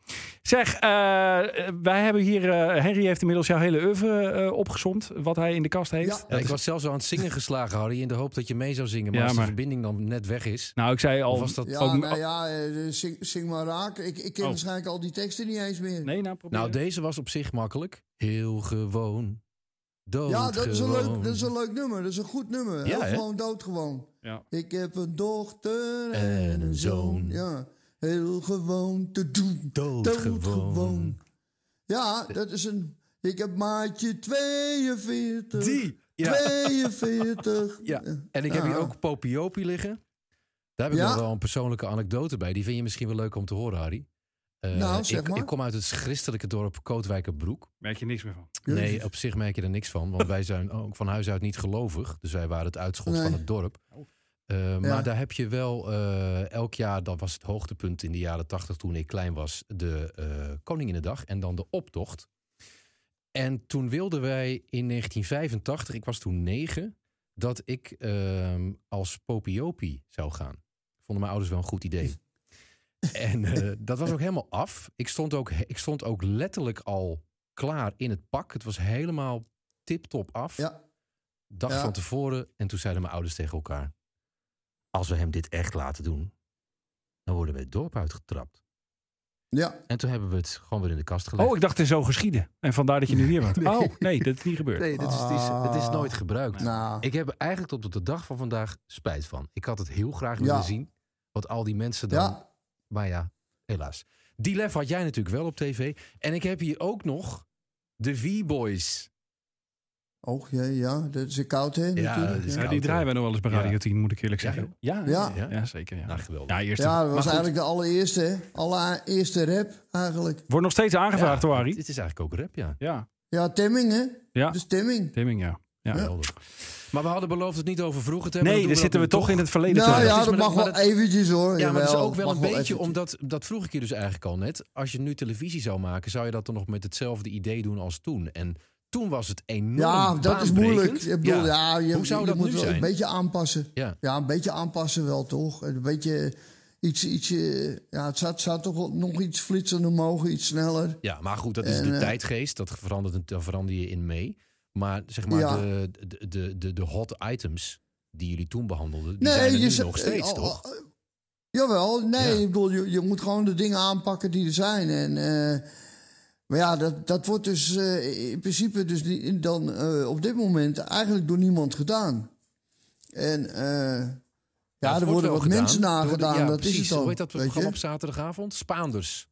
S3: Zeg, eh, eh, wij hebben hier... eh, Henry heeft inmiddels jouw hele oeuvre eh, opgezomd. Wat hij in de kast heeft.
S5: Ja,
S4: Ja,
S3: Dat
S4: ik
S3: is-
S4: was zelfs al aan het zingen geslagen, Harry. In de hoop dat je mee zou zingen. Maar
S3: Ja,
S4: als
S3: maar-
S4: de verbinding dan net weg is.
S3: Nou, ik zei al...
S4: Of was dat-
S5: Ja,
S3: ook-
S5: nou ja, eh, zing, zing maar raak. Ik, ik ken
S3: Oh.
S5: waarschijnlijk al die teksten niet eens meer.
S3: Nee, nou probeer.
S4: Nou, deze was op zich makkelijk. Heel gewoon.
S5: ja, dat is, een
S4: doodgewoon.
S5: leuk, dat is een leuk nummer. Dat is een goed nummer.
S4: eh, Ja,
S5: Heel
S4: hè?
S5: gewoon doodgewoon.
S3: Ja.
S5: Ik heb een dochter
S4: En
S5: en
S4: een
S5: een
S4: zoon.
S5: zoon. Ja, heel gewoon te doen.
S4: Doodgewoon.
S5: Ja, dat is een... Ik heb maatje 42.
S4: Die! Ja.
S5: 42.
S4: Ja, en ik heb
S5: Ja.
S4: hier ook Popiopi liggen. Daar heb ik
S5: Ah. Ja?
S4: nog wel een persoonlijke anekdote bij. Die vind je misschien wel leuk om te horen, Harry. Eh,
S5: Nou, zeg
S4: ik,
S5: maar.
S4: ik kom uit het christelijke dorp Kootwijkerbroek.
S3: Merk je niks meer van.
S5: Jezus.
S4: Nee, oh. op zich merk je er niks van. Want wij zijn ook van huis uit niet gelovig. Dus wij waren het uitschot
S5: Nee.
S4: van het dorp. Eh,
S5: Ja.
S4: Maar daar heb je wel eh, elk jaar, dat was het hoogtepunt in de jaren tachtig toen ik klein was, de eh Koninginnedag en dan de optocht. En toen wilden wij in 1985, ik was toen negen, dat ik ehm, als popiopi zou gaan. Vonden mijn ouders wel een goed idee. en eh, dat was ook helemaal af. Ik stond ook, ik stond ook letterlijk al klaar in het pak. Het was helemaal tip-top af
S5: Ja,
S4: dag
S5: Ja.
S4: van tevoren. En toen zeiden mijn ouders tegen elkaar: Als we hem dit echt laten doen, dan worden we het dorp uitgetrapt.
S5: ja.
S4: En toen hebben we het gewoon weer in de kast gelegd.
S3: Oh, ik dacht het is zo geschieden. En vandaar dat je nu hier bent. Oh, nee, dat is niet gebeurd.
S4: nee, dit is, dit is, het is nooit gebruikt.
S5: Nou,
S4: Ah. Ik heb er eigenlijk tot op de dag van vandaag spijt van. Ik had het heel graag
S5: Ja.
S4: willen zien. Wat al die mensen dan.
S5: ja.
S4: Maar ja, helaas. Die lef had jij natuurlijk wel op tv. En ik heb hier ook nog de V-Boys.
S5: Och jee, Oh, ja. Dat is een koud, hè? natuurlijk,
S4: dat is
S5: ja.
S3: Ja, die
S4: koud,
S3: draaien
S4: hè?
S3: we nog wel eens bij
S4: Ja.
S3: Radio 10, moet ik eerlijk zeggen. Ja,
S5: Ah, Ja.
S3: ja, ja, zeker. Ja,
S4: Nou, geweldig.
S3: ja eerst
S5: Ja, dat
S3: maar
S5: was
S3: goed,
S5: eigenlijk de allereerste, hè? Allereerste rap, eigenlijk.
S3: wordt nog steeds aangevraagd,
S4: Ja,
S3: door Harry.
S4: Dit is eigenlijk ook rap, ja.
S3: Ja,
S5: Ja, Temming, hè?
S3: ja.
S5: Dus Temming.
S3: Timming, ja. ja.
S4: Geweldig. Maar we hadden beloofd het niet over vroeger te hebben.
S3: Nee, daar
S4: dan doen
S3: zitten we
S4: dat nu
S3: toch in het verleden.
S5: Nou
S4: maar
S3: terug.
S4: dat
S5: ja,
S4: is-
S5: dat
S4: maar dat-
S5: mag wel
S4: maar dat-
S5: eventjes, hoor.
S4: Ja, maar dat is
S5: Jawel,
S4: ook wel
S5: mag
S4: een beetje,
S5: eventjes.
S4: omdat, dat vroeg ik je dus eigenlijk al net. Als je nu televisie zou maken, zou je dat dan nog met hetzelfde idee doen als toen? En toen was het enorm
S5: Ja, dat is
S4: baanbrekend.
S5: moeilijk. Ik bedoel, ja. je,
S4: Hoe zou
S5: je
S4: dat
S5: moet
S4: nu
S5: wel
S4: zijn?
S5: een beetje aanpassen.
S4: Ja.
S5: een beetje aanpassen wel, toch? Een beetje iets... iets eh, ja, het zou, het zou toch wel nog iets flitsender mogen, iets sneller.
S4: Ja, maar goed, dat is de
S5: En, eh,
S4: tijdgeest. Dat verandert, daar verander je in mee. Maar zeg maar,
S5: Ja.
S4: de, de, de, de, de hot items die jullie toen behandelden, die
S5: Nee,
S4: zijn er
S5: je
S4: nu
S5: zegt-
S4: nog steeds,
S5: eh,
S4: toch?
S5: oh, eh, Jawel, nee,
S4: Ja.
S5: ik bedoel, je, je moet gewoon de dingen aanpakken die er zijn. En eh, Maar ja, dat, dat wordt dus eh, in principe dus die, dan eh, op dit moment eigenlijk door niemand gedaan. En eh, ja, er worden wat mensen nagedaan, dat is het dan.
S4: Hoe heet dat
S5: weet je?
S4: programma op zaterdagavond? Spaanders.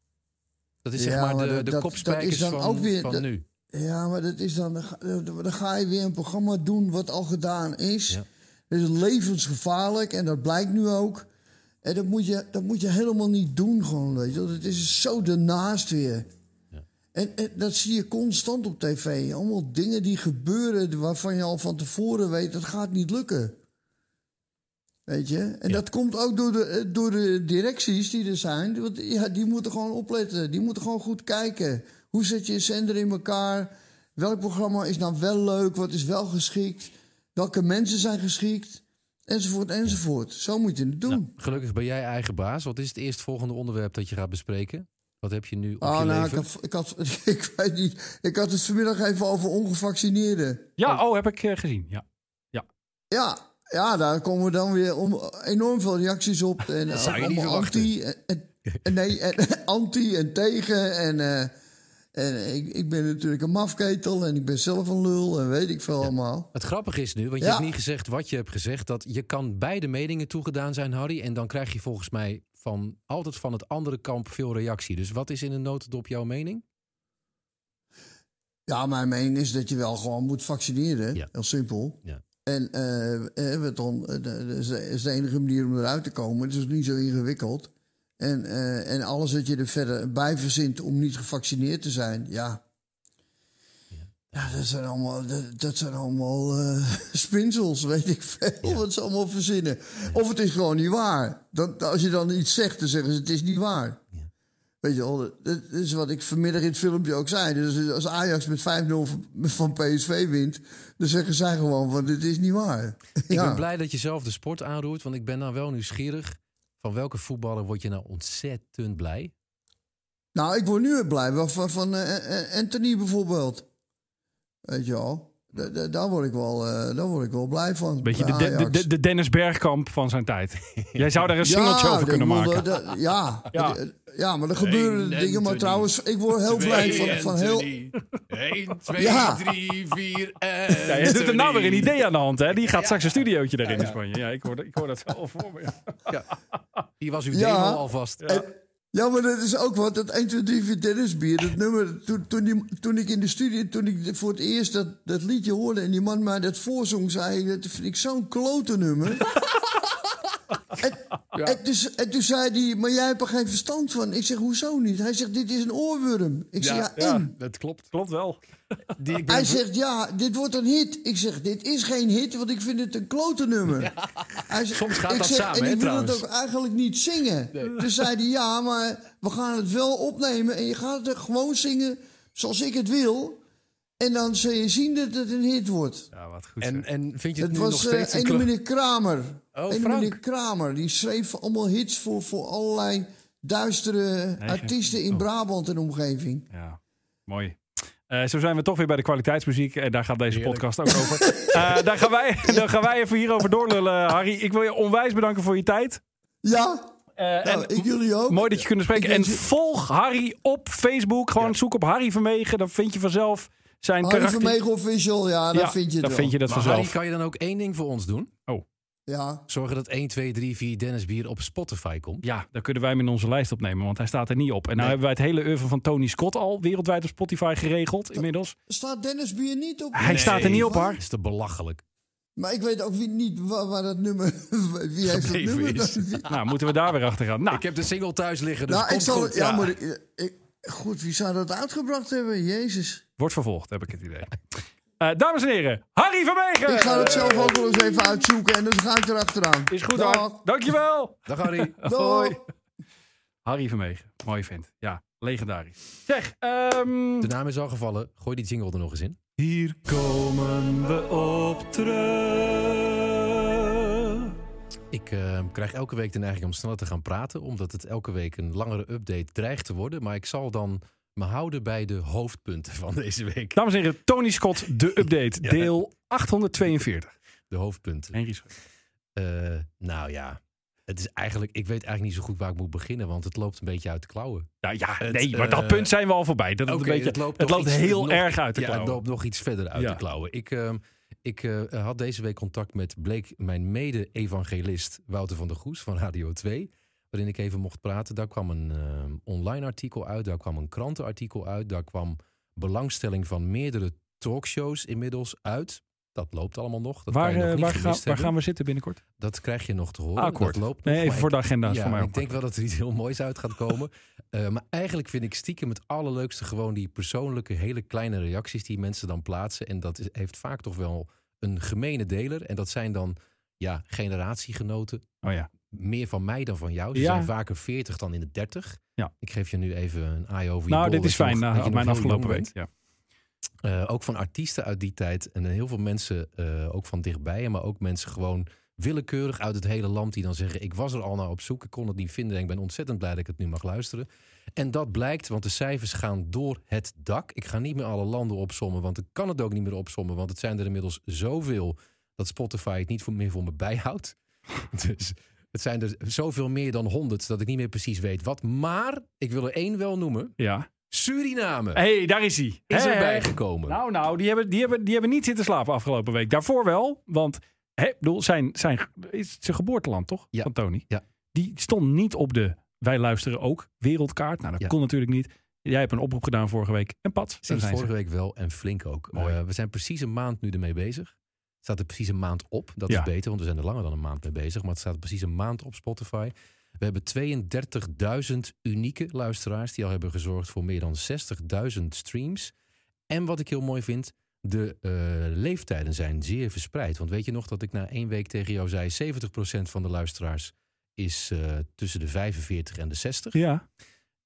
S4: Dat is
S5: Ja,
S4: zeg maar
S5: maar
S4: de,
S5: dat-
S4: de
S5: dat- dat
S4: kopspijkers
S5: is dan
S4: van,
S5: ook weer-
S4: van
S5: dat-
S4: nu.
S5: Ja, maar dat is dan, dan ga- dan ga je weer een programma doen wat al gedaan is.
S4: Ja.
S5: Dat is levensgevaarlijk en dat blijkt nu ook. En dat moet je, dat moet je helemaal niet doen, gewoon, weet je. wel. Het is zo daarnaast weer. En, en dat zie je constant op tv. Allemaal dingen die gebeuren waarvan je al van tevoren weet dat gaat niet lukken. Weet je? En dat komt ook door de, eh, door de directies die er zijn. Want ja, die moeten gewoon opletten. Die moeten gewoon goed kijken. Hoe zet je je zender in elkaar? Welk programma is nou wel leuk? Wat is wel geschikt? Welke mensen zijn geschikt? Enzovoort, enzovoort. Zo moet je het doen.
S4: Nou, gelukkig ben jij eigen baas. Wat is het eerstvolgende onderwerp dat je gaat bespreken? Wat heb je nu op
S5: Ah,
S4: je
S5: nou, ik
S4: leven?
S5: had, ik, had, ik, weet niet, ik had het vanmiddag even over ongevaccineerden.
S3: Ja, oh, heb ik eh, gezien. Ja.
S5: Ja, ja, daar komen we dan weer om, enorm veel reacties op. En dat
S4: zou je niet
S5: anti en, en- nee, en, anti en tegen. En, eh, en ik, ik ben natuurlijk een mafketel en ik ben zelf een lul en weet ik veel allemaal.
S4: Het grappige is nu, want je
S5: Ja.
S4: hebt niet gezegd wat je hebt gezegd, dat je kan beide meningen toegedaan zijn, Harry. En dan krijg je volgens mij van, altijd van het andere kamp veel reactie. Dus wat is in een notendop jouw mening?
S5: Ja, mijn mening is dat je wel gewoon moet vaccineren.
S4: Ja.
S5: Heel simpel.
S4: Ja.
S5: En eh, eh, wat dan, eh, dat is, is de enige manier om eruit te komen. Het is niet zo ingewikkeld. En, eh, en alles wat je er verder bij verzint om niet gevaccineerd te zijn, ja. Ja, dat zijn allemaal, dat, dat zijn allemaal eh, spinsels, weet ik veel, wat ze allemaal verzinnen. Of het is gewoon niet waar. Dan, als je dan iets zegt, dan zeggen ze het is niet waar. Weet je wel, dat- dat is wat ik vanmiddag in het filmpje ook zei. Dus als Ajax met 5-0 van- van PSV wint, dan zeggen zij gewoon van dit is niet waar.
S4: Ik
S5: Ja.
S4: ben blij dat je zelf de sport aanroert, want ik ben nou wel nieuwsgierig. Van welke voetballer word je nou ontzettend blij?
S5: Nou, ik word nu weer blij wel van, van eh, eh, Anthony bijvoorbeeld. Weet je wel, Da- da- daar word ik wel, eh, daar word ik wel blij van.
S3: Beetje de,
S5: bij
S3: de,
S5: Ajax.
S3: de, de Dennis Bergkamp van zijn tijd. Jij zou daar een
S5: Ja,
S3: singeltje over
S5: ik
S3: kunnen
S5: bedoel,
S3: maken.
S5: dat- dat- ja.
S3: Ja.
S5: Dat- ja, maar er gebeuren
S4: Eén
S5: dingen. Maar
S4: Anthony.
S5: trouwens, ik word heel blij van, van heel...
S4: 1, 2,
S5: Ja.
S4: 3, 4
S3: Ja,
S5: eh,
S3: je doet er nou weer een idee aan de hand, hè? Die gaat straks een studiootje daarin in Spanje. Ja, ik hoor, dat- ik hoor dat wel voor me.
S4: Hier was uw
S5: Ja.
S4: demo alvast.
S5: Ja, maar dat is ook wat. Dat 1, 2, 3, 4 tennisbier. Dat nummer, toen, toen, die- toen ik in de studie, toen ik voor het eerst dat, dat liedje hoorde... en die man mij dat voorzong, zei ik, dat vind ik zo'n klote nummer. en, en, dus, en toen zei hij, maar jij hebt er geen verstand van. Ik zeg, hoezo niet? Hij zegt, dit is een oorworm. Ik zeg, ja, en?
S4: dat klopt.
S3: Klopt wel.
S4: Die, ik ben
S5: Hij zegt, ja, dit wordt een hit. Ik zeg, dit is geen hit, want ik vind het een klote nummer. Hij zegt-
S4: Soms gaat
S5: ik
S4: dat
S5: zeg,
S4: samen,
S5: En
S4: hè,
S5: ik wil het
S4: trouwens.
S5: ook eigenlijk niet zingen. Dus zei hij, ja, maar we gaan het wel opnemen. En je gaat het gewoon zingen zoals ik het wil. En dan zul je zien dat het een hit wordt.
S3: Ja, wat goed.
S4: En,
S3: En,
S4: en vind je het,
S5: Het
S4: nu nog
S5: was
S4: steeds
S5: eh
S4: een
S5: een
S4: kle-
S5: meneer Kramer.
S4: Oh,
S5: Ene
S4: Frank.
S5: meneer Kramer. Die schreef allemaal hits voor, voor allerlei duistere
S3: geen-
S5: artiesten
S4: oh.
S5: in Brabant en omgeving.
S3: ja, mooi. Eh, zo zijn we toch weer bij de kwaliteitsmuziek. En daar gaat deze podcast ook over. Eh, daar, gaan wij, daar gaan wij even hierover doorlullen, Harry. Ik wil je onwijs bedanken voor je tijd.
S5: Ja,
S3: Eh,
S5: nou,
S3: en
S5: ik jullie ook.
S3: mooi dat je kunnen spreken.
S5: Ik
S3: En
S5: wens je-
S3: volg Harry op Facebook. Gewoon zoek op Harry Vermegen. Dan vind je vanzelf zijn
S5: Harry
S3: karakter.
S5: Vermegen Ah, official, ja, daar
S3: Ja,
S5: vind je het
S3: dan
S5: wel.
S3: vind je dat
S4: Maar Harry,
S3: vanzelf.
S4: kan je dan ook één ding voor ons doen?
S3: Oh.
S5: Ja,
S4: Zorgen dat 1, 2, 3, 4 Dennis Bier op Spotify komt.
S3: Ja, daar kunnen wij hem in onze lijst opnemen, want hij staat er niet op. En nou hebben wij het hele oeuvre van Tony Scott al wereldwijd op Spotify geregeld inmiddels.
S5: staat Dennis Bier niet op?
S3: Hij staat er niet op, hoor.
S4: Is te belachelijk.
S5: Maar ik weet ook wie, niet waar, waar dat nummer... Wie heeft dat
S4: Gebleven
S5: nummer?
S4: is.
S5: dan? Wie-
S3: Nou, moeten we daar weer achter gaan. Nou,
S4: Ik heb de single thuis liggen, dus
S5: nou, ik
S4: komt
S5: zal...
S4: goed.
S5: Ja, maar... ik- ik- goed, wie zou dat uitgebracht hebben? Jezus.
S3: wordt vervolgd, heb ik het idee. Eh, dames en heren, Harry Vermegen!
S5: Ik ga dat zelf ook wel eens even uitzoeken en dan ga ik erachteraan.
S3: Eh. Is goed,
S5: Dag.
S3: hoor. Dankjewel!
S4: Dag Harry.
S5: Doei.
S3: Harry Vermegen, mooi vent. Ja, legendarisch. Zeg, ehm,
S4: De naam is al gevallen. Gooi die jingle er nog eens in.
S3: Hier komen we op terug.
S4: Ik eh, krijg elke week de neiging om sneller te gaan praten, omdat het elke week een langere update dreigt te worden. Maar ik zal dan me houden bij de hoofdpunten van deze week.
S3: Dames en heren, Tony Scott, de update, deel 842.
S4: De hoofdpunten.
S3: Henry Scott.
S4: Eh, nou ja, Het is eigenlijk, ik weet eigenlijk niet zo goed waar ik moet beginnen, want het loopt een beetje uit de klauwen.
S3: Nou ja,
S4: Het,
S3: nee, maar dat
S4: eh,
S3: punt zijn we al voorbij. Dat het,
S4: Oké,
S3: een beetje, het loopt,
S4: nog iets-
S3: heel
S4: nog-
S3: erg uit de
S4: Ja, het
S3: klauwen.
S4: loopt nog iets verder uit
S3: Ja.
S4: de klauwen. Ik, ehm, ik eh, had deze week contact met, bleek mijn mede-evangelist Wouter van der Goes van Radio 2. Waarin ik even mocht praten. Daar kwam een ehm, online artikel uit. Daar kwam een krantenartikel uit. Daar kwam belangstelling van meerdere talkshows inmiddels uit. Dat loopt allemaal nog. Dat
S3: waar,
S4: kan je nog
S3: eh,
S4: niet
S3: waar, gaan,
S4: gemist
S3: waar
S4: hebben.
S3: gaan we zitten binnenkort?
S4: Dat krijg je nog te horen.
S3: Akkoord.
S4: Dat loopt nog,
S3: Nee, even
S4: maar
S3: voor de agenda
S4: ja,
S3: Nou, voor mij.
S4: ik denk wel dat er iets heel moois uit gaat komen. Eh, maar eigenlijk vind ik stiekem het allerleukste gewoon die persoonlijke, hele kleine reacties die mensen dan plaatsen. En dat is, heeft vaak toch wel een gemene deler. En dat zijn dan ja, generatiegenoten.
S3: Oh ja.
S4: Meer van mij dan van jou. Ze
S3: Ja.
S4: zijn vaker 40 dan in de 30.
S3: Ja.
S4: Ik geef je nu even een eye over je
S3: Nou,
S4: bol,
S3: dit
S4: dat
S3: is
S4: je nog-
S3: fijn
S4: dat je
S3: na
S4: nog
S3: mijn
S4: heel
S3: afgelopen
S4: jong
S3: week.
S4: bent.
S3: Ja.
S4: Eh, ook van artiesten uit die tijd. En heel veel mensen, eh, ook van dichtbij, maar ook mensen gewoon willekeurig uit het hele land die dan zeggen: Ik was er al naar op zoek, ik kon het niet vinden en ik ben ontzettend blij dat ik het nu mag luisteren. En dat blijkt, want de cijfers gaan door het dak. Ik ga niet meer alle landen opsommen, want ik kan het ook niet meer opsommen, want het zijn er inmiddels zoveel dat Spotify het niet voor, meer voor me bijhoudt. Dus het zijn er zoveel meer dan honderd dat ik niet meer precies weet wat. Maar ik wil er één wel noemen:
S3: ja.
S4: Suriname
S3: hey, daar is hij.
S4: is
S3: Hey.
S4: erbij gekomen.
S3: Nou, nou, die hebben, die, hebben, die hebben niet zitten slapen afgelopen week. Daarvoor wel, want hè, ik bedoel, zijn, zijn, is zijn geboorteland toch?
S4: Ja.
S3: Van Tony.
S4: Ja.
S3: Die stond niet op de Wij luisteren ook wereldkaart. Nou, dat
S4: Ja.
S3: kon natuurlijk niet. Jij hebt een oproep gedaan vorige week. En pat, daar
S4: Sinds
S3: zijn
S4: vorige
S3: ze.
S4: week wel en flink ook.
S3: Mooi.
S4: Eh, we zijn precies een maand nu ermee bezig. Het staat er precies een maand op. Dat
S3: Ja.
S4: is beter, want we zijn er langer dan een maand mee bezig. Maar het staat er precies een maand op Spotify. We hebben 32.000 unieke luisteraars die al hebben gezorgd voor meer dan 60.000 streams. En wat ik heel mooi vind, de eh, leeftijden zijn zeer verspreid. Want weet je nog dat ik na één week tegen jou zei: 70% van de luisteraars is eh, tussen de 45 en de 60.
S3: Ja,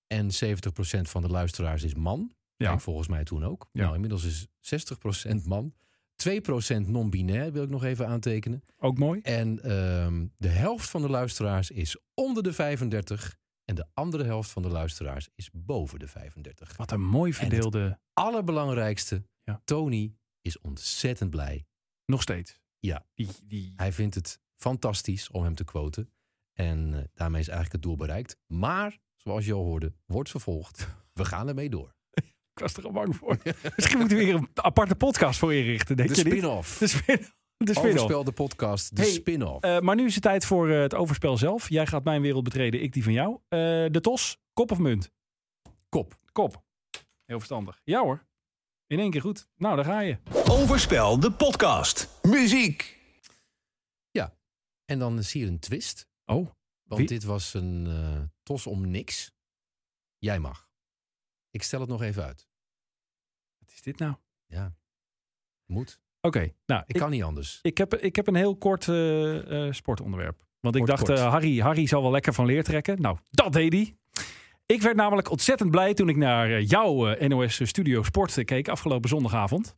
S4: En 70% van de luisteraars is man.
S3: Ja.
S4: Ja. volgens mij toen ook.
S3: Ja.
S4: Nou, inmiddels is 60% man. 2% non-binair wil ik nog even aantekenen.
S3: ook mooi.
S4: En ehm, de helft van de luisteraars is onder de 35. En de andere helft van de luisteraars is boven de 35.
S3: Wat een mooi verdeelde.
S4: Allerbelangrijkste,
S3: Ja.
S4: Tony is ontzettend blij.
S3: Nog steeds.
S4: Ja.
S3: Die, die,
S4: Hij vindt het fantastisch om hem te quoten. En eh, daarmee is eigenlijk het doel bereikt. Maar, zoals je al hoorde, wordt vervolgd. We gaan ermee door.
S3: ik was er al bang voor. Misschien moeten we hier een aparte podcast voor inrichten, denk
S4: De
S3: je niet?
S4: spin-off.
S3: De spin- de spin-off.
S4: Overspel de podcast, de
S3: Hey,
S4: spin-off.
S3: Eh, maar nu is het tijd voor eh, het overspel zelf. Jij gaat mijn wereld betreden, ik die van jou. Eh, de tos, kop of munt?
S4: Kop.
S3: Kop. Heel verstandig. Ja hoor. In één keer goed. Nou, daar ga je.
S1: Overspel, de podcast.
S2: Muziek.
S4: En dan is hier een twist,
S3: Oh,
S4: want
S3: Wie-
S4: dit was een eh, tos om niks. Jij mag. Ik stel het nog even uit.
S3: wat is dit nou? Oké,
S4: Moet.
S3: nou,
S4: Ik
S3: ik,
S4: kan niet anders.
S3: ik, heb, ik heb een heel kort eh, eh, sportonderwerp. Want ik
S4: Kort,
S3: dacht,
S4: kort.
S3: eh, Harry, Harry zal wel lekker van leer trekken. Nou, dat deed hij. Ik werd namelijk ontzettend blij toen ik naar eh, jouw eh, NOS Studio Sport eh, keek afgelopen zondagavond.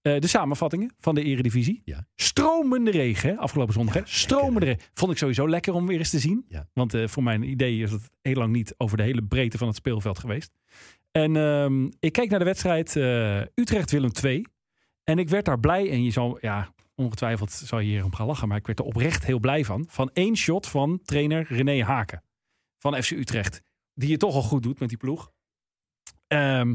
S3: Eh, de samenvattingen van de Eredivisie.
S4: Ja.
S3: Stromende regen hè, afgelopen zondag. hè? Stromende
S4: lekker,
S3: regen. Vond ik sowieso lekker om weer eens te zien.
S4: Ja.
S3: Want eh, voor mijn idee is het heel lang niet over de hele breedte van het speelveld geweest. En ehm, ik keek naar de wedstrijd eh, Utrecht-Willem II. En ik werd daar blij. En je zal, ja, ongetwijfeld zal je hier om gaan lachen. Maar ik werd er oprecht heel blij van. Van één shot van trainer René Haken. Van FC Utrecht. Die het toch al goed doet met die ploeg. Ehm,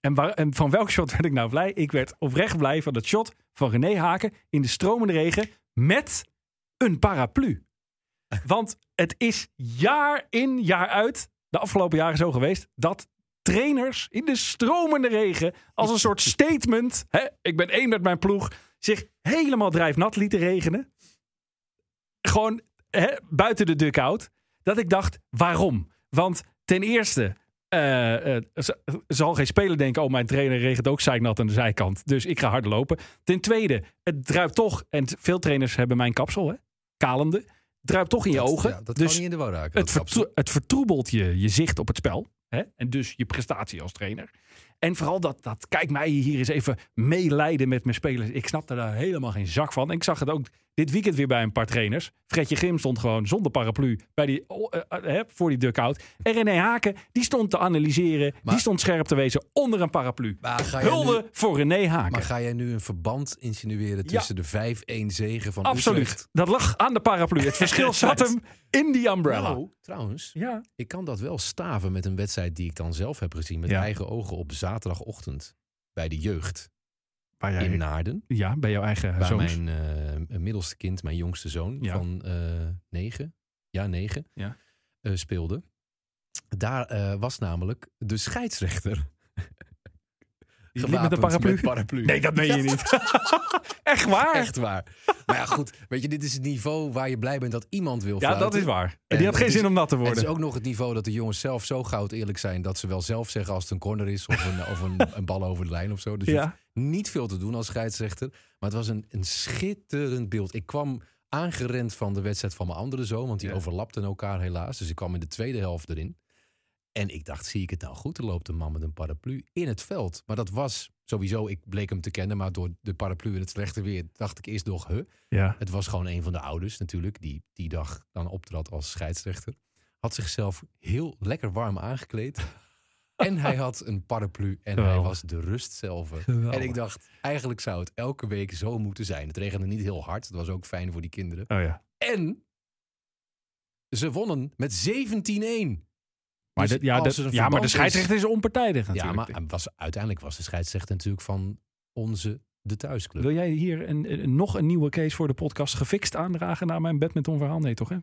S3: en, waar- en van welk shot werd ik nou blij? Ik werd oprecht blij van dat shot van René Haken in de stromende regen met een paraplu. Want het is jaar in jaar uit, de afgelopen jaren zo geweest, dat trainers in de stromende regen als een soort statement, hè, ik ben één met mijn ploeg, zich helemaal drijfnat lieten regenen. Gewoon hè, buiten de dugout. Dat ik dacht, waarom? Want ten eerste, eh, eh, z- zal geen speler denken: oh, mijn trainer regent ook zeiknat aan de zijkant. Dus ik ga hard lopen. Ten tweede, het druipt toch, en t- veel trainers hebben mijn kapsel, hè? kalende. Het druipt toch in je
S4: Dat-
S3: ogen.
S4: ja, dat kan
S3: dus
S4: niet in de war raken.
S3: het,
S4: dat kapsel.
S3: vertro- het vertroebelt je, je zicht op het spel. Hè? En dus je prestatie als trainer. En vooral dat, dat, kijk mij hier eens even meeleiden met mijn spelers. Ik snapte daar helemaal geen zak van. En ik zag het ook dit weekend weer bij een paar trainers. Fredje Grim stond gewoon zonder paraplu bij die, oh, eh, eh, hè, voor die duckout. En René Haken, die stond te analyseren.
S4: Maar-
S3: die stond scherp te wezen onder een paraplu.
S4: Maar ga, jij
S3: Hulde
S4: nu,
S3: voor René Haken.
S4: maar ga jij nu een verband insinueren
S3: Ja.
S4: tussen de 5-1 zegen van
S3: Absoluut.
S4: Utrecht?
S3: Dat lag aan de paraplu. Het verschil zat hem in die umbrella.
S4: Nou, trouwens,
S3: Ja.
S4: ik kan dat wel staven met een wedstrijd die ik dan zelf heb gezien met
S3: Ja.
S4: eigen ogen op zaterdagochtend bij de jeugd
S3: Waar
S4: in Naarden.
S3: ja, bij jouw eigen
S4: Bij
S3: zoons.
S4: mijn eh, middelste kind, mijn jongste zoon
S3: Ja.
S4: van eh, negen, ja negen,
S3: Ja.
S4: eh, speelde. Daar eh, was namelijk de scheidsrechter.
S3: Die liep met
S4: gewapend
S3: een paraplu.
S4: met paraplu.
S3: Nee, dat meen je niet. Echt waar?
S4: Echt waar. Maar ja, goed. Weet je, dit is het niveau waar je blij bent dat iemand wil
S3: ja, dat
S4: fluiten.
S3: is waar. En
S4: En
S3: die had geen
S4: het
S3: zin
S4: is-
S3: om nat te
S4: En het
S3: worden.
S4: is ook nog het niveau dat de jongens zelf zo goud eerlijk zijn... dat ze wel zelf zeggen als het een corner is of een, of een, een bal over de lijn of zo. Dus je
S3: Ja.
S4: hoeft niet veel te doen als scheidsrechter. Maar het was een, een schitterend beeld. Ik kwam aangerend van de wedstrijd van mijn andere zoon... want die
S3: Ja.
S4: overlapten elkaar helaas. Dus ik kwam in de tweede helft erin. En ik dacht, zie ik het nou goed? Er loopt een man met een paraplu in het veld. Maar dat was sowieso, ik bleek hem te kennen... maar door de paraplu en het slechte weer dacht ik eerst nog... Huh?
S3: Ja.
S4: Het was gewoon een van de ouders natuurlijk, die die dag dan optrad als scheidsrechter. Had zichzelf heel lekker warm aangekleed. en hij had een paraplu en hij
S3: Geweldig.
S4: was de rust zelf.
S3: Geweldig.
S4: En ik dacht, eigenlijk zou het elke week zo moeten zijn. Het regende niet heel hard, het was ook fijn voor die kinderen.
S3: Oh ja.
S4: En ze wonnen met 17-1.
S3: Maar,
S4: Dus
S3: dit- ja,
S4: als
S3: dat-
S4: er een
S3: ja, maar de
S4: verband is-
S3: scheidsrechter is onpartijdig
S4: Ja,
S3: natuurlijk.
S4: maar hij was, uiteindelijk was de scheidsrechter natuurlijk van onze, de thuisclub.
S3: Wil jij hier een, een- nog een nieuwe case voor de podcast gefixt aandragen na mijn badmintonverhaal? Nee, toch hè?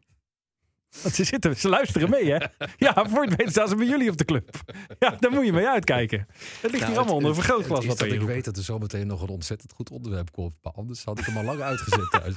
S3: Want ze, zitten, ze luisteren mee, hè? Ja, voor het weten staan ze bij jullie op de club. Ja, daar moet je mee uitkijken. Het ligt hier
S4: Nou,
S3: allemaal onder een
S4: het- het-
S3: vergrootglas.
S4: het is
S3: Wat
S4: dat
S3: er
S4: ik
S3: hier roept.
S4: weet dat er zometeen nog een ontzettend goed onderwerp komt. Maar anders had ik hem al lang uitgezet thuis.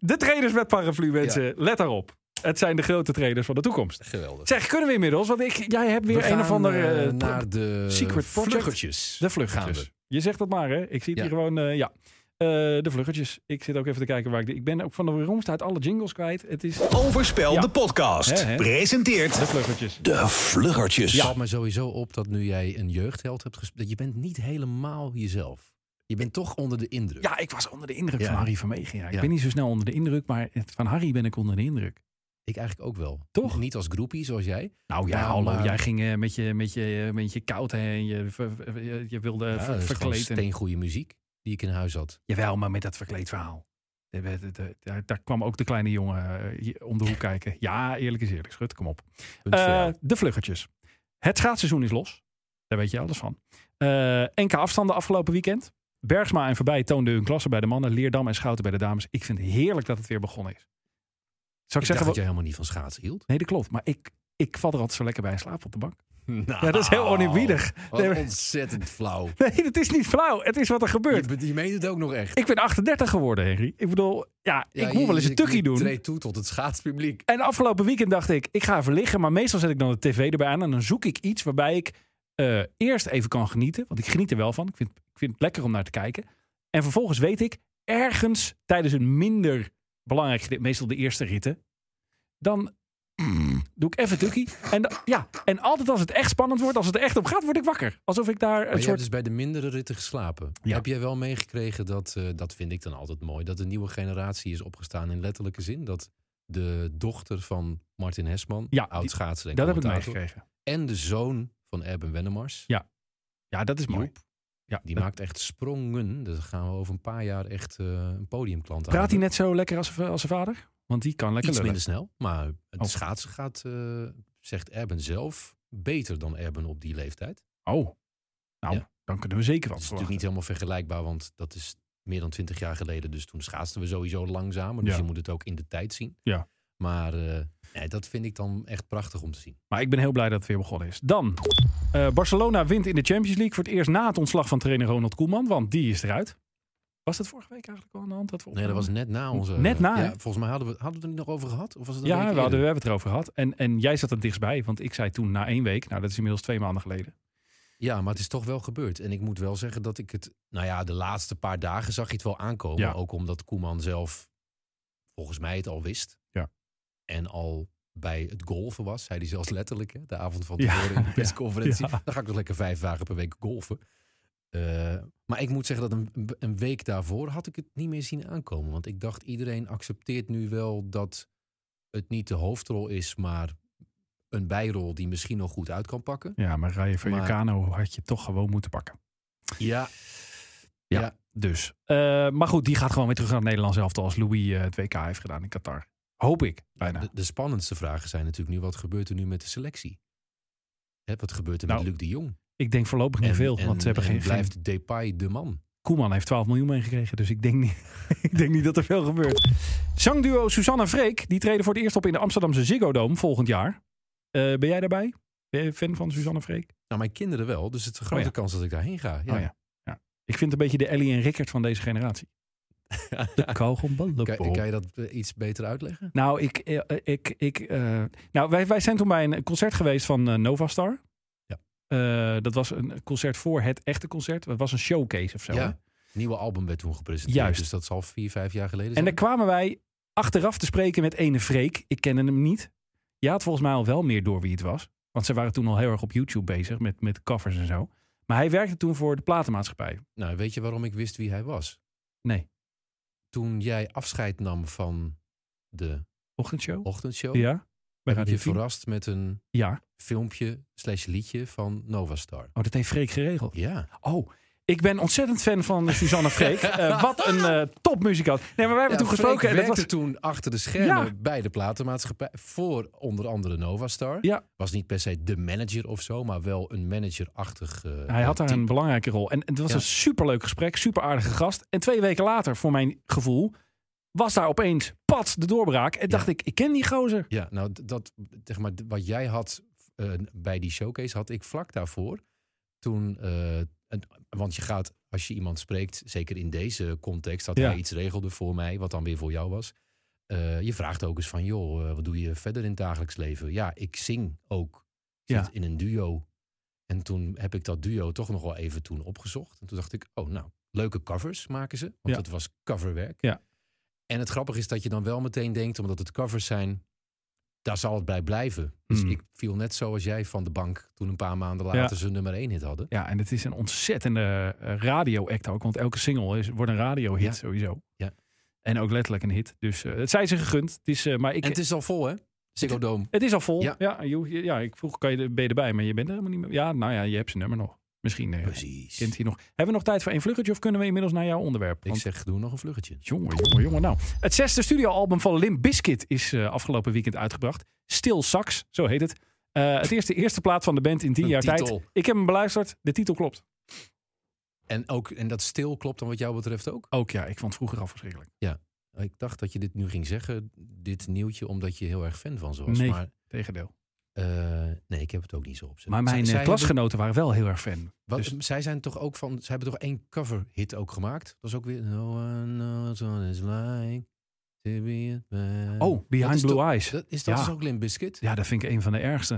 S3: De trainers met paraplu, mensen. Let daarop. Het zijn de grote trainers van de toekomst.
S4: Geweldig.
S3: Zeg, kunnen we inmiddels? Want ik, jij hebt weer
S4: We
S3: een
S4: gaan,
S3: of ander...
S4: eh,
S3: eh,
S4: naar de
S3: secret project.
S4: vluggertjes.
S3: De vluggertjes.
S4: Gaan we.
S3: Je zegt dat maar, hè? Ik zie het
S4: Ja.
S3: hier gewoon, eh, ja. Eh, de vluggertjes. Ik zit ook even te kijken waar ik... de- Ik ben ook van de romst uit alle jingles kwijt. Het is de
S1: Overspel
S3: Ja.
S1: de podcast.
S3: Hè, hè?
S1: Presenteert
S3: vluggertjes.
S1: de vluggertjes.
S4: Het Dus valt me sowieso op dat nu jij een jeugdheld hebt gespeeld, dat je bent niet helemaal jezelf. Je bent toch onder de indruk.
S3: Ja, ik was onder de indruk
S4: Ja.
S3: van Harry Vermegen. Ja. Ik
S4: Ja.
S3: ben niet zo snel onder de indruk, maar het- van Harry ben ik onder de indruk.
S4: Ik eigenlijk ook wel.
S3: Toch?
S4: Niet als groepie zoals jij.
S3: Nou ja,
S4: Ja,
S3: hallo.
S4: maar-
S3: Jij ging eh, met, je, met, je, met je koud heen. Je, ver- ver- je- je wilde
S4: Ja,
S3: ver-
S4: dat is gewoon
S3: verkleed. En,
S4: steengoede muziek die ik in huis had.
S3: jawel, maar met dat verkleed verhaal. De- de- de- de- Daar, daar kwam ook de kleine jongen eh, hier om de hoek kijken. Ja, eerlijk is eerlijk. Schut, kom op.
S4: Punt voor
S3: Eh,
S4: jou.
S3: de vluggertjes. Het schaatsseizoen is los. Daar weet je alles van. Eh NK afstanden afgelopen weekend. Bergsma en Verbij toonden hun klasse bij de mannen. Leerdam en Schouten bij de dames. Ik vind het heerlijk dat het weer begonnen is. Zou
S4: Ik
S3: ik, zeggen...
S4: dacht dat
S3: wat-
S4: jij helemaal niet van schaatsen hield.
S3: Nee, dat klopt. Maar ik, ik val er altijd zo lekker bij en slaap op de bank.
S4: Nou,
S3: Ja, dat is heel oneerbiedig. Nee,
S4: Wat
S3: maar-
S4: ontzettend flauw.
S3: Nee, dat is niet flauw. Het is wat er gebeurt.
S4: Je, je meent het ook nog echt.
S3: Ik ben 38 geworden, Henry. Ik bedoel, ja,
S4: Ja,
S3: ik moet
S4: je-
S3: wel eens
S4: je-
S3: een tukkie
S4: je
S3: doen.
S4: treedt toe tot het schaatspubliek.
S3: En afgelopen weekend dacht ik, ik ga even liggen. Maar meestal zet ik dan de tv erbij aan. En dan zoek ik iets waarbij ik eh, eerst even kan genieten. Want ik geniet er wel van. Ik vind, ik vind het lekker om naar te kijken. En vervolgens weet ik, ergens tijdens een minder belangrijk gedeelte, meestal de eerste ritten, dan doe ik even tukkie. En, da- ja, en altijd als het echt spannend wordt, als het er echt om gaat, word ik wakker. Alsof ik daar
S4: Maar
S3: een
S4: je hebt
S3: soort...
S4: dus bij de mindere ritten geslapen.
S3: Ja.
S4: Heb jij wel meegekregen dat, eh, dat vind ik dan altijd mooi, dat de nieuwe generatie is opgestaan in letterlijke zin? Dat de dochter van Martin Hesman,
S3: Ja, die-
S4: oud schaatser en
S3: Dat heb ik
S4: commentator,
S3: meegekregen.
S4: en de zoon van Erben Wennemars,
S3: Ja, Ja, dat is mooi.
S4: Joep,
S3: Ja,
S4: die
S3: dat-
S4: maakt echt sprongen. Daar gaan we over een paar jaar echt eh, een podiumklant aan.
S3: Praat hij nou net zo lekker als, eh, als zijn vader? Want die kan lekker
S4: Iets
S3: lullen.
S4: minder snel, maar het
S3: Oh.
S4: schaatsen gaat, eh, zegt Erben zelf, beter dan Erben op die leeftijd.
S3: Oh, nou,
S4: Ja.
S3: dan kunnen we zeker wat
S4: Dat is
S3: verwachten.
S4: natuurlijk niet helemaal vergelijkbaar, want dat is meer dan twintig jaar geleden. Dus toen schaatsten we sowieso langzamer. Dus
S3: Ja.
S4: je moet het ook in de tijd zien.
S3: Ja.
S4: Maar eh, nee, dat vind ik dan echt prachtig om te zien.
S3: Maar ik ben heel blij dat het weer begonnen is. Dan, eh, Barcelona wint in de Champions League voor het eerst na het ontslag van trainer Ronald Koeman, want die is eruit. Was dat vorige week eigenlijk al aan de hand? Dat we
S4: Nee, dat was
S3: opnamen?
S4: net na onze...
S3: Net na,
S4: Ja,
S3: hè?
S4: volgens mij hadden we, hadden we het er niet nog over gehad? Of was het een
S3: ja, we,
S4: week
S3: hadden, we
S4: eerder?
S3: hebben het erover gehad. En, en jij zat er dichtstbij, want ik zei toen na één week, nou dat is inmiddels twee maanden geleden.
S4: Ja, maar het is toch wel gebeurd. En ik moet wel zeggen dat ik het... Nou ja, de laatste paar dagen zag je het wel aankomen.
S3: Ja.
S4: Ook omdat Koeman zelf volgens mij het al wist.
S3: Ja.
S4: En al bij het golven was. Zei hij zelfs letterlijk hè, de avond van
S3: Ja,
S4: tevoren in de
S3: ja,
S4: persconferentie.
S3: ja.
S4: Dan ga ik nog lekker vijf dagen per week golven. Eh, maar ik moet zeggen dat een, een week daarvoor had ik het niet meer zien aankomen. Want ik dacht iedereen accepteert nu wel dat het niet de hoofdrol is, maar een bijrol die misschien nog goed uit kan pakken.
S3: Ja, maar Rayo Vallecano had je toch gewoon moeten pakken.
S4: Ja,
S3: Ja.
S4: ja.
S3: Dus. eh, maar goed, die gaat gewoon weer terug naar het Nederlands elftal als Louis eh, het WK heeft gedaan in Qatar. Hoop ik, bijna.
S4: De, de spannendste vragen zijn natuurlijk nu: wat gebeurt er nu met de selectie? Hè, wat gebeurt er
S3: Nou,
S4: met Luc de Jong?
S3: Ik denk voorlopig niet veel, want ze hebben
S4: en
S3: geen, geen-
S4: blijft Depay de man?
S3: Koeman heeft 12 miljoen meegekregen, dus ik denk niet, ik denk niet dat er veel gebeurt. Zangduo Suzanne en Freek, die treden voor het eerst op in de Amsterdamse Ziggo Dome volgend jaar. Eh, ben jij daarbij? Ben jij fan van Suzanne en Freek?
S4: Nou, mijn kinderen wel, dus het is een grote
S3: Oh ja.
S4: kans dat ik daarheen ga. Ja.
S3: Oh ja. ja. Ik vind het een beetje de Ellie en Rickert van deze generatie. De
S4: kan, kan
S3: kogelballenpop.
S4: je dat eh, iets beter uitleggen?
S3: Nou, ik, eh, ik, ik, eh, nou wij, wij zijn toen bij een concert geweest van eh, Novastar.
S4: Ja.
S3: Eh, dat was een concert voor het echte concert. Het was een showcase of zo. hè?
S4: Ja. Nieuwe album werd toen gepresenteerd,
S3: Juist.
S4: dus dat zal vier, vijf jaar geleden
S3: Dus En
S4: zijn.
S3: daar kwamen wij achteraf te spreken met ene Freek. Ik kende hem niet. Je had volgens mij al wel meer door wie het was. Want ze waren toen al heel erg op YouTube bezig met, met covers en zo. Maar hij werkte toen voor de platenmaatschappij.
S4: Nou, weet je waarom ik wist wie hij was?
S3: Nee.
S4: Toen jij afscheid nam van de
S3: Ochtendshow?
S4: ochtendshow,
S3: Oh. Ja. Bij
S4: heb
S3: Radio
S4: je
S3: 10?
S4: verrast met een
S3: Ja.
S4: filmpje slash liedje van Novastar.
S3: Oh, dat heeft Freek geregeld.
S4: Ja.
S3: Oh, ik ben ontzettend fan van Suzanne Freek. Eh, wat een eh, topmuzikant. Nee, maar wij hebben toen
S4: Freek
S3: gesproken. en dat
S4: werkte
S3: was...
S4: toen achter de schermen
S3: Ja.
S4: bij de platenmaatschappij. Voor onder andere Novastar.
S3: Ja.
S4: Was niet per se de manager of zo, maar wel een managerachtig. eh,
S3: Hij had daar
S4: type.
S3: een belangrijke rol. En het was
S4: Ja.
S3: een superleuk gesprek, super aardige gast. En twee weken later, voor mijn gevoel, was daar opeens pat de doorbraak. En dacht ik, ik ken die gozer.
S4: Ja, nou, d- dat, zeg maar, d- wat jij had eh, bij die showcase, had ik vlak daarvoor. Toen, eh, een- want je gaat, als je iemand spreekt, zeker in deze context, dat
S3: Ja.
S4: hij iets regelde voor mij, wat dan weer voor jou was. eh, je vraagt ook eens van, joh, eh, wat doe je verder in het dagelijks leven? Ja, ik zing ook. Ik
S3: Ja.
S4: zit in een duo. En toen heb ik dat duo toch nog wel even toen opgezocht. En toen dacht ik, oh nou, leuke covers maken ze.
S3: Ja.
S4: Want dat was coverwerk.
S3: Ja.
S4: En het grappige is dat je dan wel meteen denkt, omdat het covers zijn, daar zal het bij blijven. Dus
S3: Hmm.
S4: ik viel net zoals jij van de bank toen een paar maanden later ze nummer één hit hadden.
S3: Ja, en het is een ontzettende eh, radio-act ook. Want elke single is, wordt een radio-hit
S4: Ja.
S3: sowieso.
S4: Ja.
S3: En ook letterlijk een hit. Dus eh, het zij ze gegund. Het is, eh, maar ik,
S4: En het is al vol, hè? Ziggo Dome.
S3: het is al vol. Ja,
S4: Ja.
S3: joh, ja, ik vroeg, kan je, er- ben je erbij? Maar je bent er helemaal niet meer. Ja, nou ja, je hebt zijn nummer nog. Misschien eh,
S2: Precies.
S3: kent hij nog. Hebben we nog tijd voor één vluggetje of kunnen we inmiddels naar jouw onderwerp?
S4: Ik
S3: Want-
S4: zeg, doe nog een vluggetje.
S3: Jongen, jongen, jongen. Nou, het zesde studioalbum van Limp Bizkit is eh, afgelopen weekend uitgebracht. Stil Sax, zo heet het. Eh, het eerste, eerste plaat van de band in tien
S4: Een
S3: jaar tijd.
S4: titel.
S3: Ik heb hem beluisterd. De titel klopt.
S4: En, ook, en dat stil klopt dan wat jou betreft ook?
S3: Ook ja, ik vond het vroeger al verschrikkelijk.
S4: Ik dacht dat je dit nu ging zeggen, dit nieuwtje, omdat je heel erg fan van ze was.
S3: Nee.
S4: Maar
S3: Tegendeel.
S4: eh, nee, ik heb het ook niet zo op zitten.
S3: Maar
S4: Zij-
S3: mijn eh,
S4: zij
S3: klasgenoten waren wel heel erg fan.
S4: Wat,
S3: Dus-
S4: Zij zijn toch ook van. Ze hebben toch één cover hit ook gemaakt? Dat is ook weer. No one knows what it's like to be a man.
S3: Oh,
S4: Eh, Dat
S3: Behind
S4: is
S3: Blue
S4: toch-
S3: Eyes.
S4: Dat, is dat
S3: Ja.
S4: dus ook Limp Bizkit?
S3: Ja, dat vind ik een van de ergste.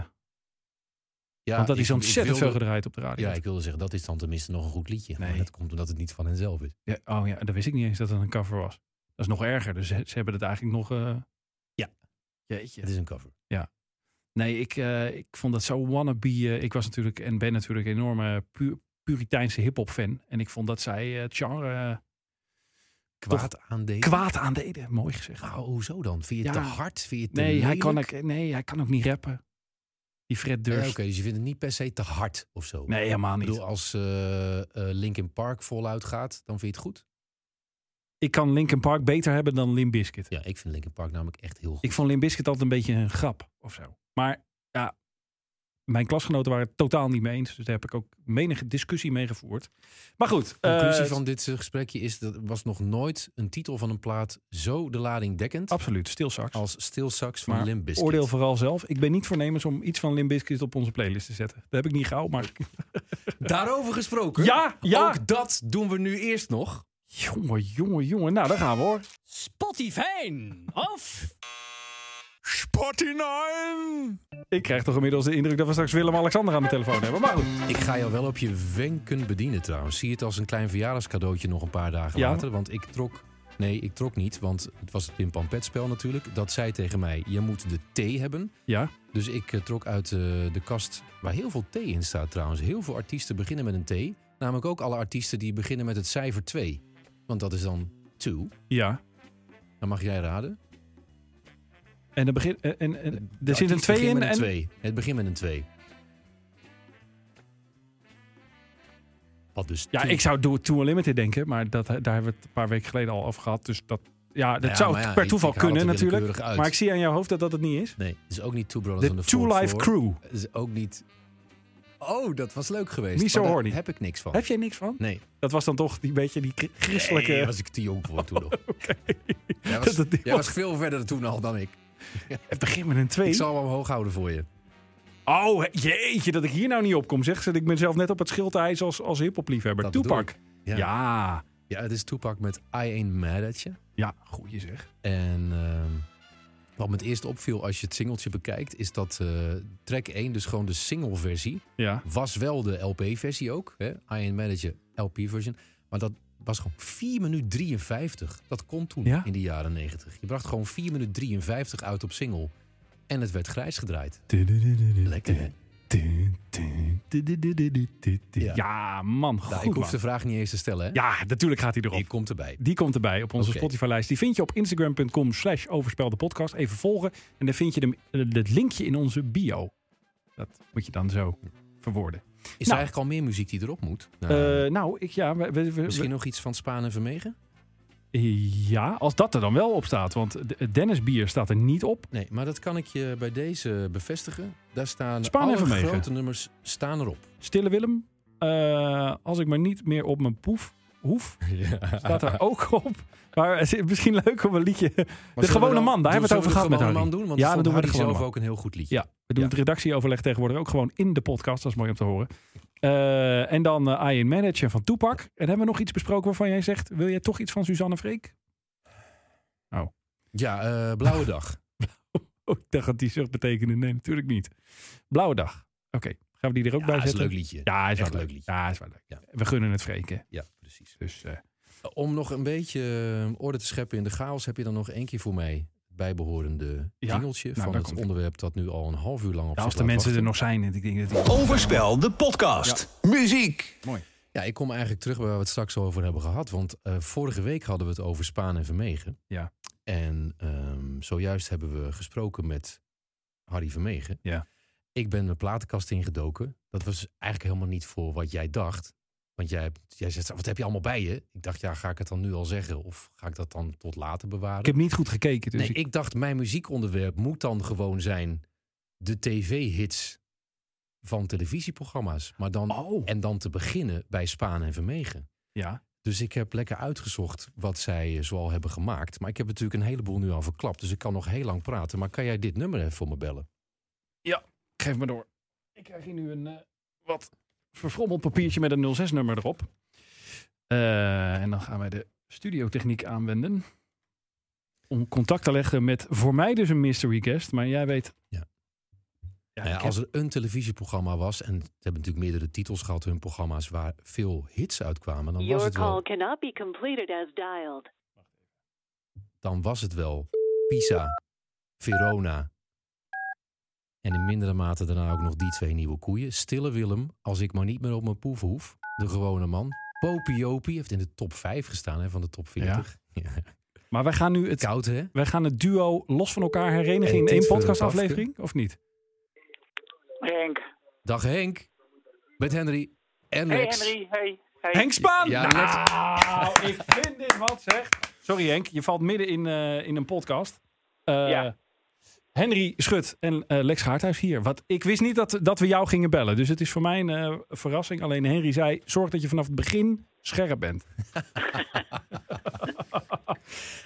S4: Ja,
S3: Want dat
S4: ik-
S3: is ontzettend
S4: ik wilde-
S3: veel gedraaid op de radio.
S4: Ja, ik wilde zeggen, dat is dan tenminste nog een goed liedje.
S3: Nee.
S4: Maar dat komt omdat het niet van henzelf is.
S3: Ja, oh ja, dat wist ik niet eens dat het een cover was. Dat is nog erger. Dus ze, ze hebben het eigenlijk nog... eh,
S4: Ja.
S3: Jeetje.
S4: Het is een cover.
S3: Nee, ik, eh, ik vond dat zo wannabe. eh, ik was natuurlijk en ben natuurlijk een enorme pu Puriteinse hip-hop fan. En ik vond dat zij eh, het genre eh,
S4: Kwaad aan deze.
S3: kwaad aandeden. Mooi gezegd.
S4: Nou, hoezo dan? Vind je het
S3: Ja.
S4: te hard? Vind je het te
S3: nee, hij
S4: lelijk?
S3: kan ook, nee, hij kan ook niet rappen. Die Fred
S4: Nee,
S3: Durst.
S4: Oké,
S3: Nee,
S4: dus je vindt het niet per se te hard of zo.
S3: helemaal
S4: Ik bedoel,
S3: niet.
S4: als eh, eh, Linkin Park voluit gaat, dan vind je het goed.
S3: Ik kan Linkin Park beter hebben dan Limp Bizkit.
S4: Ja, ik vind Linkin Park namelijk echt heel goed.
S3: Ik vond Limp Bizkit altijd een beetje een grap of zo. Maar ja, mijn klasgenoten waren het totaal niet mee eens. Dus daar heb ik ook menige discussie mee gevoerd. Maar goed.
S4: De conclusie
S3: eh,
S4: van dit eh, gesprekje is dat er was nog nooit een titel van een plaat zo de lading dekkend
S3: Absoluut, stilzaks.
S4: als Stilsax van
S3: Maar
S4: Limp Bizkit.
S3: Oordeel vooral zelf. Ik ben niet voornemens om iets van Limp Bizkit op onze playlist te zetten. Dat heb ik niet gauw, maar...
S4: Daarover gesproken.
S3: Ja, ja.
S4: Ook dat doen we nu eerst nog.
S3: Jongen, jongen, jongen. Nou, daar gaan we hoor.
S6: Spotify of
S3: Ik krijg toch inmiddels de indruk dat we straks Willem-Alexander aan de telefoon hebben. Maar goed.
S4: Ik ga jou wel op je wenken bedienen trouwens. Zie het als een klein verjaardagscadeautje nog een paar dagen
S3: Ja.
S4: later. Want ik trok Nee, ik trok niet, want het was het pimpanpet spel natuurlijk. Dat zei tegen mij, je moet de T hebben.
S3: Ja.
S4: Dus ik eh, trok uit eh, de kast, waar heel veel T in staat trouwens. Heel veel artiesten beginnen met een T. Namelijk ook alle artiesten die beginnen met het cijfer 2. Want dat is dan 2.
S3: Ja.
S4: Dan mag jij raden.
S3: En, dan begin, en, en- en er zit
S4: Artiest
S3: een 2
S4: begint
S3: in.
S4: met een
S3: En,
S4: twee. Het begint met een 2. Wat dus
S3: ja,
S4: toe?
S3: ik zou Doe It To Unlimited denken, maar dat, daar hebben we het een paar weken geleden al over gehad. Dus dat, ja, dat
S4: Ja,
S3: zou
S4: maar ja,
S3: per
S4: ik-
S3: toeval
S4: ik haal
S3: kunnen
S4: het er
S3: natuurlijk.
S4: willekeurig uit.
S3: Maar ik zie aan jouw hoofd dat dat het niet is.
S4: Nee, het is ook niet Two Brothers on
S3: De
S4: the
S3: Two
S4: Fourth
S3: Life
S4: Floor.
S3: Crew.
S4: Het is ook niet... Oh, dat was leuk geweest.
S3: Niet zo
S4: maar daar
S3: horny.
S4: heb ik niks van.
S3: Heb jij niks van?
S4: Nee.
S3: Dat was dan toch die beetje die chr- christelijke...
S4: Nee, was ik te jong voor toen nog. Jij, was,
S3: Oh, Dat het niet
S4: jij
S3: was.
S4: was veel verder toen al dan ik.
S3: Het begint met een 2.
S4: Ik zal hem omhoog houden voor je.
S3: Oh, he- jeetje, dat ik hier nou niet op kom. Zeg, zet ik mezelf net op het schildijs als, als hiphopliefhebber.
S4: Dat bedoel
S3: Toepak. Ja.
S4: Ja.
S3: ja.
S4: Ja, het is Toepak met I Ain't Mad At You.
S3: goeie zeg.
S4: En ehm, wat me het eerst opviel als je het singeltje bekijkt... is dat eh, track 1, dus gewoon de single-versie...
S3: Ja.
S4: was wel de LP-versie ook. Hè? I Ain't Mad At You, LP-version. Maar dat was gewoon 4 minuut 53. Dat kon toen
S3: Ja?
S4: in de jaren 90. Je bracht gewoon 4 minuut 53 uit op single. En het werd grijs gedraaid. Lekker, hè?
S3: Ja, man, goed
S4: Nou, ik hoef
S3: man.
S4: de vraag niet eens te stellen, hè?
S3: Ja, natuurlijk gaat hij erop.
S4: Ik kom erbij.
S3: Die komt erbij op onze
S4: Oké.
S3: Spotify-lijst. Die vind je op instagram.com slash overspeldepodcast. Even volgen. En dan vind je hem- eh, het linkje in onze bio. Dat moet je dan zo verwoorden.
S4: Is er
S3: Nou.
S4: eigenlijk al meer muziek die erop moet? Nou,
S3: Eh, nou, ik, ja, we, we- we-
S4: misschien nog iets van Spaan en Vermegen?
S3: ja, als dat er dan wel op staat. Want de- het Dennis Bier staat er niet op.
S4: Nee, maar dat kan ik je bij deze bevestigen. Daar staan
S3: Spaan en
S4: alle
S3: Vermegen.
S4: grote nummers staan erop.
S3: Stille Willem, eh, als ik maar niet meer op mijn poef hoef, staat er ook op. Maar het is misschien leuk om een liedje... de
S4: zullen we
S3: gewone
S4: dan-
S3: man, daar hebben we het
S4: zullen
S3: over gehad
S4: de
S3: met
S4: gewone
S3: Harry.
S4: man doen, want
S3: Ja,
S4: ja,
S3: dan doen we de
S4: Harry
S3: gewone
S4: zelf
S3: man.
S4: ook een heel goed liedje.
S3: Ja, we doen
S4: Ja.
S3: het redactieoverleg tegenwoordig ook gewoon in de podcast. Dat is mooi om te horen. Eh, en dan eh Ian Manager van Toepak. En hebben we nog iets besproken waarvan jij zegt... wil jij toch iets van Suzanne Freek?
S4: Ja, eh, Blauwe Dag.
S3: Oh, ik dacht dat die zucht betekende. Nee, natuurlijk niet. Blauwe dag. Oké, gaan we die er ook
S4: Ja,
S3: bij
S4: Ah, is een
S3: zetten?
S4: leuk liedje.
S3: Ja, is wel
S4: Echt
S3: leuk.
S4: leuk liedje.
S3: Ja, is wel leuk.
S4: Ja.
S3: We gunnen het Freken.
S4: Ja, precies.
S3: Dus eh,
S4: Om nog een beetje eh, orde te scheppen in de chaos, heb je dan nog één keer voor mij het bijbehorende
S3: Ja?
S4: jingeltje
S3: Nou,
S4: van
S3: daar
S4: het
S3: komt-ie.
S4: onderwerp dat nu al een half uur lang op
S3: ja, als
S4: zich
S3: de
S4: laat
S3: mensen er
S4: wachten.
S3: nog zijn. en Ik denk dat die-
S4: Oh.
S1: Overspel, de podcast.
S2: Muziek.
S4: Ja, ik kom eigenlijk terug bij waar we het straks over hebben gehad. Want eh, vorige week hadden we het over Spaan en Vermegen.
S3: Ja.
S4: En ehm, zojuist hebben we gesproken met Harry Vermegen.
S3: Ja.
S4: Ik ben de platenkast ingedoken. Dat was eigenlijk helemaal niet voor wat jij dacht. Want jij, hebt- jij zegt, wat heb je allemaal bij je? Ik dacht, ja, ga ik het dan nu al zeggen? Of ga ik dat dan tot later bewaren?
S3: Ik heb niet goed gekeken. Dus
S4: nee,
S3: ik-
S4: ik dacht, mijn muziekonderwerp moet dan gewoon zijn de tv-hits van televisieprogramma's. Maar dan,
S3: Oh.
S4: En dan te beginnen bij Spaan en Vermegen.
S3: ja.
S4: Dus ik heb lekker uitgezocht wat zij eh, zoal hebben gemaakt. Maar ik heb natuurlijk een heleboel nu al verklapt. Dus ik kan nog heel lang praten. Maar kan jij dit nummer even voor me bellen?
S3: Geef me door. Ik krijg hier nu een eh, wat verfrommeld papiertje met een 06-nummer erop. Eh, en dan gaan wij de studiotechniek aanwenden. Om contact te leggen met voor mij dus een mystery guest. Maar jij weet...
S4: Ja.
S3: Ja,
S4: Nou ja,
S3: ik
S4: als
S3: heb-
S4: er een televisieprogramma was... en ze hebben natuurlijk meerdere titels gehad hun programma's... waar veel hits uitkwamen, dan was
S7: Your
S4: het wel...
S7: call cannot be completed as dialed.
S4: Dan was het wel Pisa, Verona... en in mindere mate daarna ook nog die twee nieuwe koeien. Stille Willem, Als ik maar niet meer op mijn poef hoef. De gewone man. Popiopie heeft in de top 5 gestaan hè, van de top 40. Ja.
S3: Maar wij gaan nu het
S4: Koud, hè?
S3: Wij gaan het duo los van elkaar herenigen
S4: Hey,
S3: in
S4: dit
S3: één
S4: voor
S3: podcastaflevering, of niet?
S8: Henk.
S4: Dag Henk. Met Henry en
S8: Hey
S4: Lex.
S8: Henry, hey. hey.
S3: Henk Spaan!
S4: Ja,
S3: nou, ik vind dit wat zeg. Sorry Henk, je valt midden in, eh, in een podcast. Eh,
S8: Ja.
S3: Henry Schut en eh, Lex Gaarthuis hier. Wat, ik wist niet dat, dat we jou gingen bellen, dus het is voor mij een eh, verrassing. Alleen Henry zei, zorg dat je vanaf het begin scherp bent.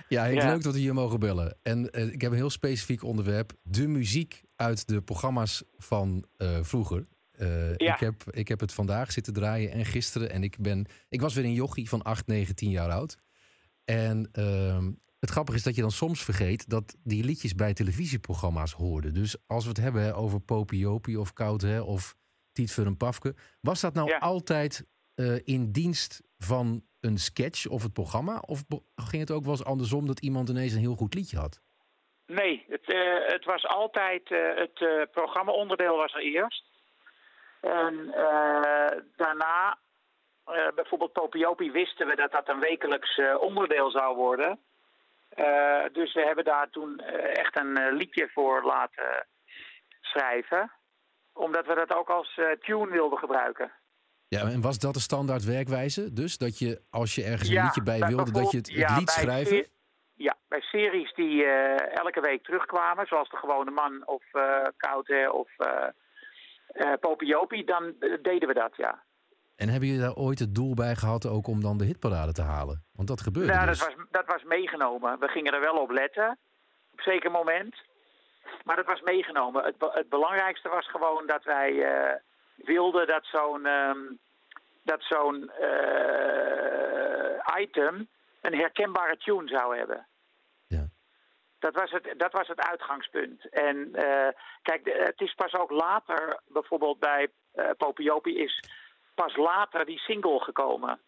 S4: Ja, Henk,
S8: Ja.
S4: leuk dat we hier mogen bellen. En eh, ik heb een heel specifiek onderwerp. De muziek uit de programma's van eh, vroeger. Eh,
S8: Ja.
S4: ik, heb, ik heb het vandaag zitten draaien en gisteren. En ik, ben, ik was weer een jochie van 8, 9, 10 jaar oud. En ehm, het grappige is dat je dan soms vergeet... dat die liedjes bij televisieprogramma's hoorden. Dus als we het hebben hè, over Popiopie of Koud hè, of Tiet voor een Pafke... was dat nou
S8: Ja.
S4: altijd eh, in dienst van een sketch of het programma? Of be- ging het ook wel eens andersom dat iemand ineens een heel goed liedje had?
S8: Nee, het, eh, het was altijd eh, het eh, programma-onderdeel was er eerst. En eh, daarna, eh, bijvoorbeeld Popiopi, wisten we dat dat een wekelijks eh, onderdeel zou worden. Eh, dus we hebben daar toen eh, echt een eh, liedje voor laten schrijven. Omdat we dat ook als eh, tune wilden gebruiken.
S4: Ja, en was dat de standaard werkwijze? Dus dat je, als je ergens een
S8: Ja,
S4: liedje bij wilde, dat je het, het
S8: bijvoorbeeld- ja,
S4: lied
S8: bij
S4: schrijven...
S8: se- Ja, bij series die eh, elke week terugkwamen, zoals De Gewone Man of eh Koude of eh eh, Popiopi, dan eh, deden we dat, ja.
S4: En hebben jullie daar ooit het doel bij gehad ook om dan de hitparade te halen? Want dat gebeurde
S8: Nou, dat
S4: dus.
S8: was, dat was meegenomen. We gingen er wel op letten, op een zeker moment. Maar dat was meegenomen. Het, be- het belangrijkste was gewoon dat wij eh, wilden dat zo'n ehm, dat zo'n eh, item een herkenbare tune zou hebben.
S4: Ja.
S8: Dat was het, dat was het uitgangspunt. En eh, kijk, de- het is pas ook later, bijvoorbeeld bij eh Popiopi, is pas later die single gekomen.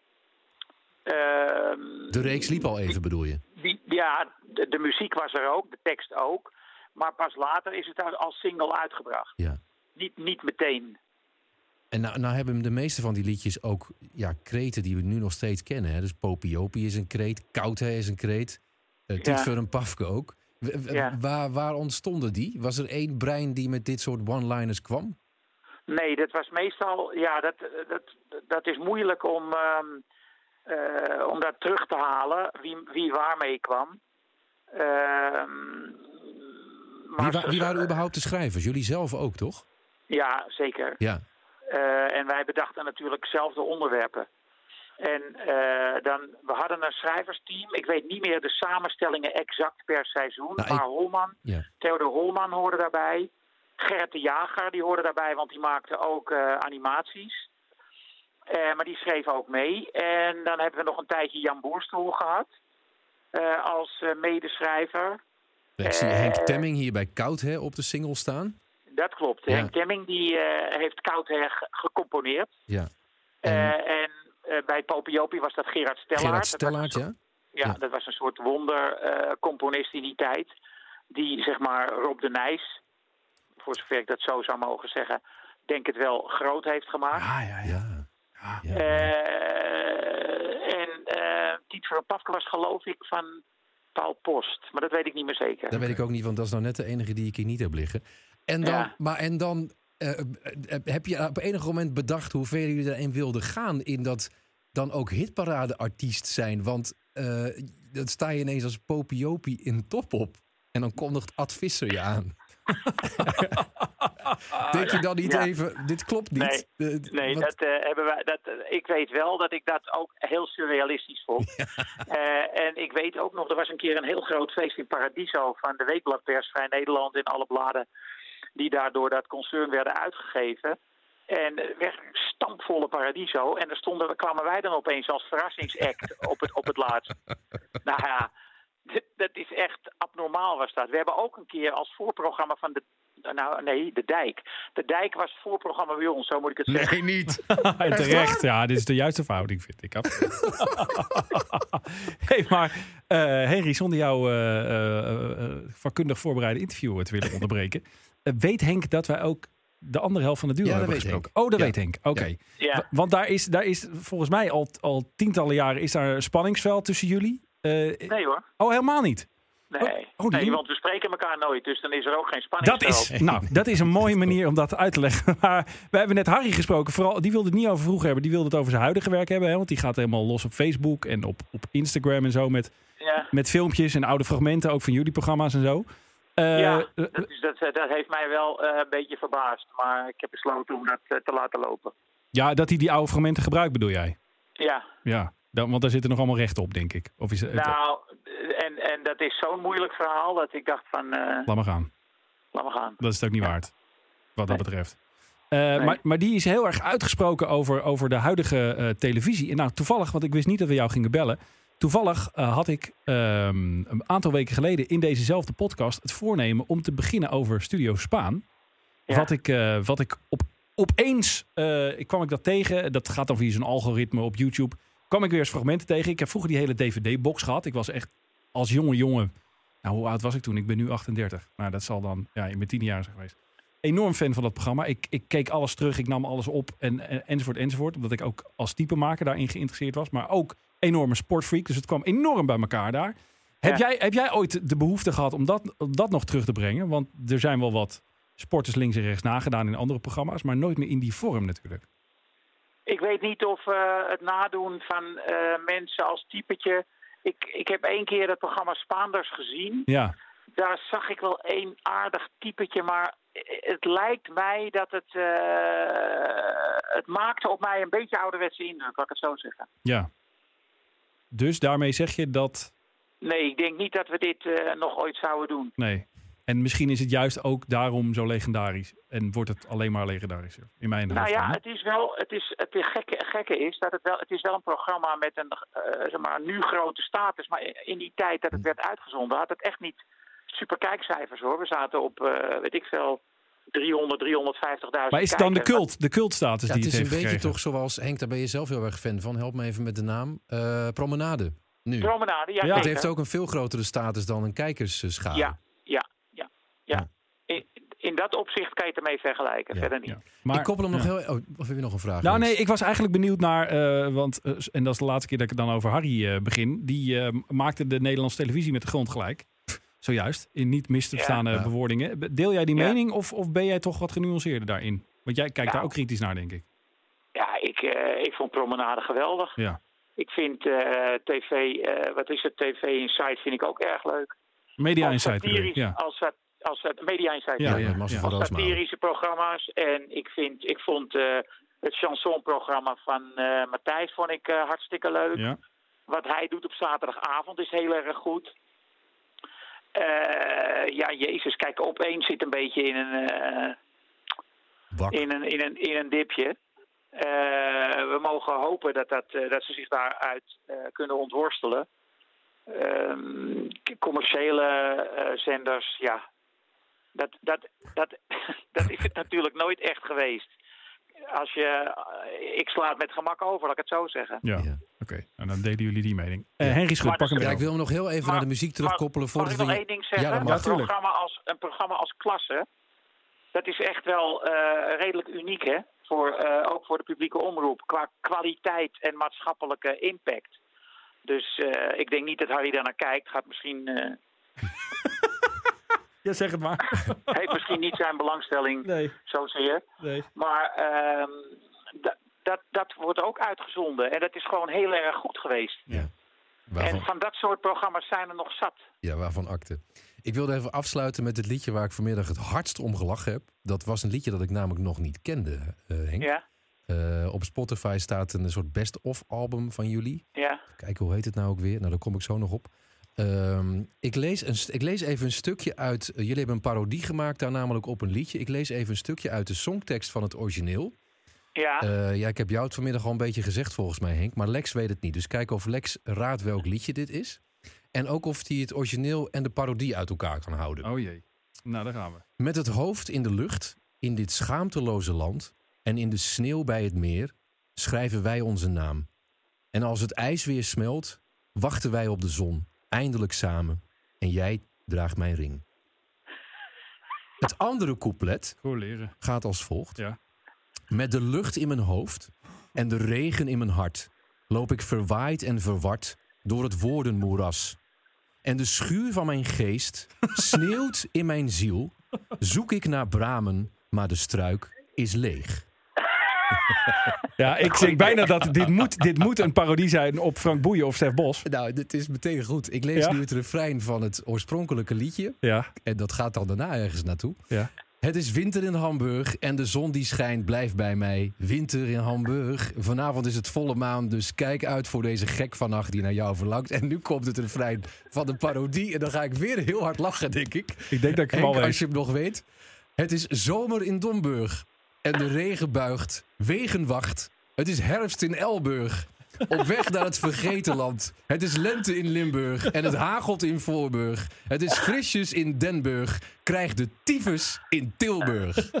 S8: Ehm,
S4: De reeks liep al even, bedoel je?
S8: die, ja, de, de muziek was er ook, de tekst ook. Maar pas later is het als- als single uitgebracht.
S4: Ja.
S8: Niet, niet meteen.
S4: En nou, nou hebben de meeste van die liedjes ook ja, kreten die we nu nog steeds kennen. Hè? Dus Popiopi is een kreet, Koudhe is een kreet, uh,
S8: Ja.
S4: Tietver en Pafke ook. W- w-
S8: Ja.
S4: waar, waar ontstonden die? Was er één brein die met dit soort one-liners kwam?
S8: Nee, dat was meestal. Ja, dat, dat, dat is moeilijk om, ehm, eh, om dat terug te halen, wie, wie waarmee kwam. Ehm,
S4: Wie,
S8: maar
S4: wa-
S8: ze-
S4: wie waren
S8: ze-
S4: überhaupt de schrijvers? Jullie zelf ook, toch?
S8: Ja, zeker.
S4: Ja.
S8: Eh, en wij bedachten natuurlijk zelf de onderwerpen. En eh, dan, we hadden een schrijversteam. Ik weet niet meer de samenstellingen exact per seizoen.
S4: Nou, ik-
S8: maar Holman,
S4: ja.
S8: Theodor Holman hoorde daarbij. Gerrit de Jager, die hoorde daarbij, want die maakte ook eh, animaties. Eh, maar die schreef ook mee. En dan hebben we nog een tijdje Jan Boerstoel gehad. eh, als eh, medeschrijver.
S4: Ik
S8: Eh.
S4: zie Henk Temming hier bij Koudhe op de single staan.
S8: Dat klopt.
S4: Ja.
S8: Henk Temming die, eh, heeft Koudher ge- gecomponeerd.
S4: Ja.
S8: Eh,
S4: En
S8: en eh, bij Popiopi was dat Gerard Stellaert.
S4: Mhm. Gerard
S8: Dat was een
S4: Stellaert, ja?
S8: soort- ja,
S4: Ja.
S8: dat was een soort wondercomponist in die tijd. Die, zeg maar, Rob de Nijs, voor zover ik dat zo zou mogen zeggen, denk het wel groot heeft gemaakt.
S3: Ah, ja, ja.
S4: Ja. ja.
S8: Eh, en eh Tiet van Pafke was geloof ik van Paul Post. Maar dat weet ik niet meer zeker.
S4: Dat weet ik ook niet, want dat is nou net de enige die ik hier niet heb liggen. En dan,
S8: Ja.
S4: maar, en dan eh, eh, heb je op enig moment bedacht hoe ver jullie daarin wilden gaan in dat dan ook hitparade-artiest zijn. Want eh dan sta je ineens als popiopi in top op. En dan kondigt Ad Visser je aan. Denk je dan niet
S8: Ja.
S4: even, dit klopt niet. Eh,
S8: Nee,
S4: want-
S8: dat, eh, hebben wij, dat, eh, ik weet wel dat ik dat ook heel surrealistisch vond. Eh, en ik weet ook nog, er was een keer een heel groot feest in Paradiso van de Weekbladpers Vrij Nederland in alle bladen die daardoor dat concern werden uitgegeven. En eh, werd een stampvolle Paradiso. En daar stonden, kwamen wij dan opeens als verrassingsact op het, op het laatst. Nou ja, d- dat is echt abnormaal was dat. We hebben ook een keer als voorprogramma van de... Nou, nee, De Dijk. De Dijk was voorprogramma bij ons, zo moet ik het zeggen.
S4: Nee, niet.
S3: En terecht, ja, dit is de juiste verhouding, vind ik. absoluut. hey, maar eh Henry, zonder jou eh, eh, eh, vakkundig voorbereide interview te willen onderbreken, eh, weet Henk dat wij ook de andere helft van de duo
S4: Ja, dat
S3: hebben
S4: weet
S3: gesproken?
S4: Henk.
S3: Oh, dat
S4: Ja.
S3: weet Henk. Oké.
S8: Ja.
S3: Wa- Want daar is, daar is volgens mij al, al tientallen jaren is daar een spanningsveld tussen jullie. Eh,
S8: Nee hoor.
S3: Oh, helemaal niet.
S8: Nee.
S3: oh, die-
S8: nee, want we spreken elkaar nooit, dus dan is er ook geen spanning.
S3: Dat is, nou, dat is een mooie manier om dat uit te leggen. Maar we hebben net Harry gesproken. Vooral, die wilde het niet over vroeger hebben. Die wilde het over zijn huidige werk hebben. Hè? Want die gaat helemaal los op Facebook en op, op Instagram en zo. Met,
S8: Ja,
S3: met filmpjes en oude fragmenten. Ook van jullie programma's en zo. Eh,
S8: ja
S3: eh,
S8: dat, is, dat, dat heeft mij wel eh, een beetje verbaasd, maar ik heb besloten om dat eh, te laten lopen.
S3: ja, dat hij die oude fragmenten gebruikt, bedoel jij?
S8: Ja,
S3: Ja, dan, want daar zitten nog allemaal rechten op, denk ik. Of is het,
S8: nou, en, en dat is zo'n moeilijk verhaal dat ik dacht van, eh,
S3: Laat maar gaan.
S8: laat maar gaan.
S3: Dat is het ook niet waard. Wat dat betreft. Eh, maar, maar die is heel erg uitgesproken over, over de huidige eh, televisie. En nou, toevallig, want ik wist niet dat we jou gingen bellen. Toevallig eh, had ik ehm, een aantal weken geleden in dezezelfde podcast het voornemen om te beginnen over Studio Spaan.
S8: Ja.
S3: Wat ik, eh, wat ik op, opeens eh, ik kwam ik dat tegen. Dat gaat dan via zo'n algoritme op YouTube. kwam ik weer eens fragmenten tegen. Ik heb vroeger die hele DVD-box gehad. Ik was echt als jonge jongen. Nou, hoe oud was ik toen? Ik ben nu 38. Nou, dat zal dan ja, in mijn tien jaar zijn geweest. Enorm fan van dat programma. Ik, ik keek alles terug, ik nam alles op en, en, enzovoort, enzovoort. Omdat ik ook als typemaker daarin geïnteresseerd was. Maar ook enorme sportfreak. Dus het kwam enorm bij elkaar daar. Heb, jij, heb jij ooit de behoefte gehad om dat, om dat nog terug te brengen? Want er zijn wel wat sporters links en rechts nagedaan in andere programma's. Maar nooit meer in die vorm natuurlijk.
S8: Ik weet niet of eh, het nadoen van eh, mensen als typetje. Ik, ik heb één keer het programma Spaanders gezien.
S3: Ja,
S8: Daar zag ik wel één aardig typetje, maar het lijkt mij dat het. eh, het maakte op mij een beetje ouderwetse indruk, laat ik het zo zeggen.
S3: ja. Dus daarmee zeg je dat
S8: Nee, ik denk niet dat we dit eh, nog ooit zouden doen.
S3: Nee. En misschien is het juist ook daarom zo legendarisch. En wordt het alleen maar legendarischer. In mijn
S8: Nou
S3: hoofd dan,
S8: ja,
S3: hè?
S8: het is wel. Het, is, het gekke, gekke is dat het wel. Het is wel een programma met een. eh, zeg maar, nu grote status. Maar in die tijd dat het werd uitgezonden. had het echt niet super kijkcijfers hoor. We zaten op. eh, weet ik veel. 300, 350.000.
S3: Maar is het dan de
S8: kijkers.
S3: cult, de cultstatus
S4: Ja,
S3: die
S4: het is een
S3: het heeft
S4: beetje
S3: gekregen?
S4: toch zoals Henk, daar ben je zelf heel erg fan van. Help me even met de naam. Eh, promenade. Nu.
S8: Promenade, ja.
S3: Ja.
S8: zeker.
S4: Het heeft ook een veel grotere status dan een kijkersschade.
S8: Ja, ja, ja.
S4: Ja.
S8: ja. In, in dat opzicht kan je het ermee vergelijken.
S4: Ja,
S8: Verder niet.
S3: Ja. Maar,
S4: ik koppel hem nog
S3: ja.
S4: heel. Oh, of heb je nog een vraag?
S3: Nou
S4: Lex?
S3: nee, ik was eigenlijk benieuwd naar, eh, want, eh, en dat is de laatste keer dat ik het dan over Harry eh, begin. Die eh, maakte de Nederlandse televisie met de grond gelijk. Zojuist, in niet mis te verstaande
S4: Ja.
S3: bewoordingen. Be- Deel jij die
S8: Ja.
S3: mening of, of ben jij toch wat genuanceerder daarin? Want jij kijkt daar ook kritisch naar, denk ik.
S8: Ja, ik, eh, ik vond Promenade geweldig.
S3: Ja.
S8: Ik vind eh, tv, eh, wat is het, TV Insight vind ik ook erg leuk.
S3: Media
S8: als
S3: Insight. bedoel ik,
S8: satirisch-
S3: Ja.
S8: Als, sat- als, sat- Media Insight.
S3: Oh, Ja,
S4: Ja,
S8: bedoel
S4: ja,
S8: ik.
S4: Marcel
S3: ja.
S4: van Roosmalen.
S8: Satirische programma's. En ik, vind, ik vond eh, het chansonprogramma van eh, Matthijs vond ik, eh, hartstikke leuk.
S3: Ja.
S8: Wat hij doet op zaterdagavond is heel erg goed. Eh, ja, Jezus, kijk, opeens zit een beetje in een... eh,
S4: Bak.
S8: in een, in een, in een dipje. Eh, we mogen hopen dat, dat, eh, dat ze zich daaruit eh, kunnen ontworstelen. Ehm, k- commerciële eh, zenders, ja. Dat, dat, dat, dat is het natuurlijk nooit echt geweest. Als je, eh, ik sla het met gemak over, laat ik het zo zeggen.
S3: Ja,
S4: Ja.
S3: oké. En dan delen jullie die mening. Eh Henry Schut,
S8: Maar
S3: pak hem
S8: dat-
S3: weer
S4: Ja, ik wil hem nog heel even
S8: Maar-
S4: naar de muziek terugkoppelen.
S8: Mag, mag
S4: voordat
S8: ik nog
S4: we-
S8: één ding zeggen?
S4: Ja, dat
S3: mag.
S8: een, programma als, een programma als klasse, dat is echt wel eh, redelijk uniek, hè? Voor, eh, ook voor de publieke omroep, qua kwaliteit en maatschappelijke impact. Dus eh, ik denk niet dat Harry daar naar kijkt. Gaat misschien, eh,
S3: Ja, zeg het maar.
S8: heeft misschien niet zijn belangstelling
S3: nee,
S8: zozeer.
S3: nee.
S8: Maar ehm, da- dat, dat wordt ook uitgezonden. En dat is gewoon heel erg goed geweest. En
S4: Waarvan,
S8: van dat soort programma's zijn er nog zat.
S4: ja, waarvan akte. Ik wilde even afsluiten met het liedje waar ik vanmiddag het hardst om gelachen heb. Dat was een liedje dat ik namelijk nog niet kende, eh, Henk.
S8: Ja,
S4: Eh, op Spotify staat een soort best-of-album van jullie.
S8: ja.
S4: Kijk, hoe heet het nou ook weer? Nou, daar kom ik zo nog op. Ehm, ik, lees een, st- ik lees even een stukje uit. eh, jullie hebben een parodie gemaakt daar namelijk op een liedje. Ik lees even een stukje uit de songtekst van het origineel.
S8: ja.
S4: Eh, ja, ik heb jou het vanmiddag al een beetje gezegd volgens mij, Henk. Maar Lex weet het niet. Dus kijk of Lex raadt welk liedje dit is. En ook of hij het origineel en de parodie uit elkaar kan houden.
S3: Oh jee. Nou, daar gaan we.
S4: Met het hoofd in de lucht, in dit schaamteloze land en in de sneeuw bij het meer, schrijven wij onze naam. En als het ijs weer smelt, wachten wij op de zon, eindelijk samen. En jij draagt mijn ring. Het andere couplet
S3: Goed leren.
S4: gaat als volgt.
S3: Ja.
S4: Met de lucht in mijn hoofd en de regen in mijn hart loop ik verwaaid en verward door het woordenmoeras. En de schuur van mijn geest sneeuwt in mijn ziel. Zoek ik naar bramen, maar de struik is leeg.
S3: Ja, ik zeg bijna dat dit moet, dit moet een parodie zijn op Frank Boeien of Stef Bos.
S4: Nou, dit is meteen goed. Ik lees
S3: Ja?
S4: nu het refrein van het oorspronkelijke liedje.
S3: Ja,
S4: En dat gaat dan daarna ergens naartoe.
S3: ja.
S4: Het is winter in Hamburg en de zon die schijnt blijft bij mij. Winter in Hamburg. Vanavond is het volle maan, dus kijk uit voor deze gek vannacht die naar jou verlangt. En nu komt het refrein van de parodie en dan ga ik weer heel hard lachen, denk ik.
S3: Ik denk dat ik hem
S4: Henk,
S3: al weet.
S4: als je hem nog weet. Het is zomer in Domburg en de regen buigt. Wegen wacht. Het is herfst in Elburg. Op weg naar het vergeten land. Het is lente in Limburg en het hagelt in Voorburg. Het is frisjes in Denburg. Krijg de
S3: Oh. Oh.
S4: tyfus in Tilburg.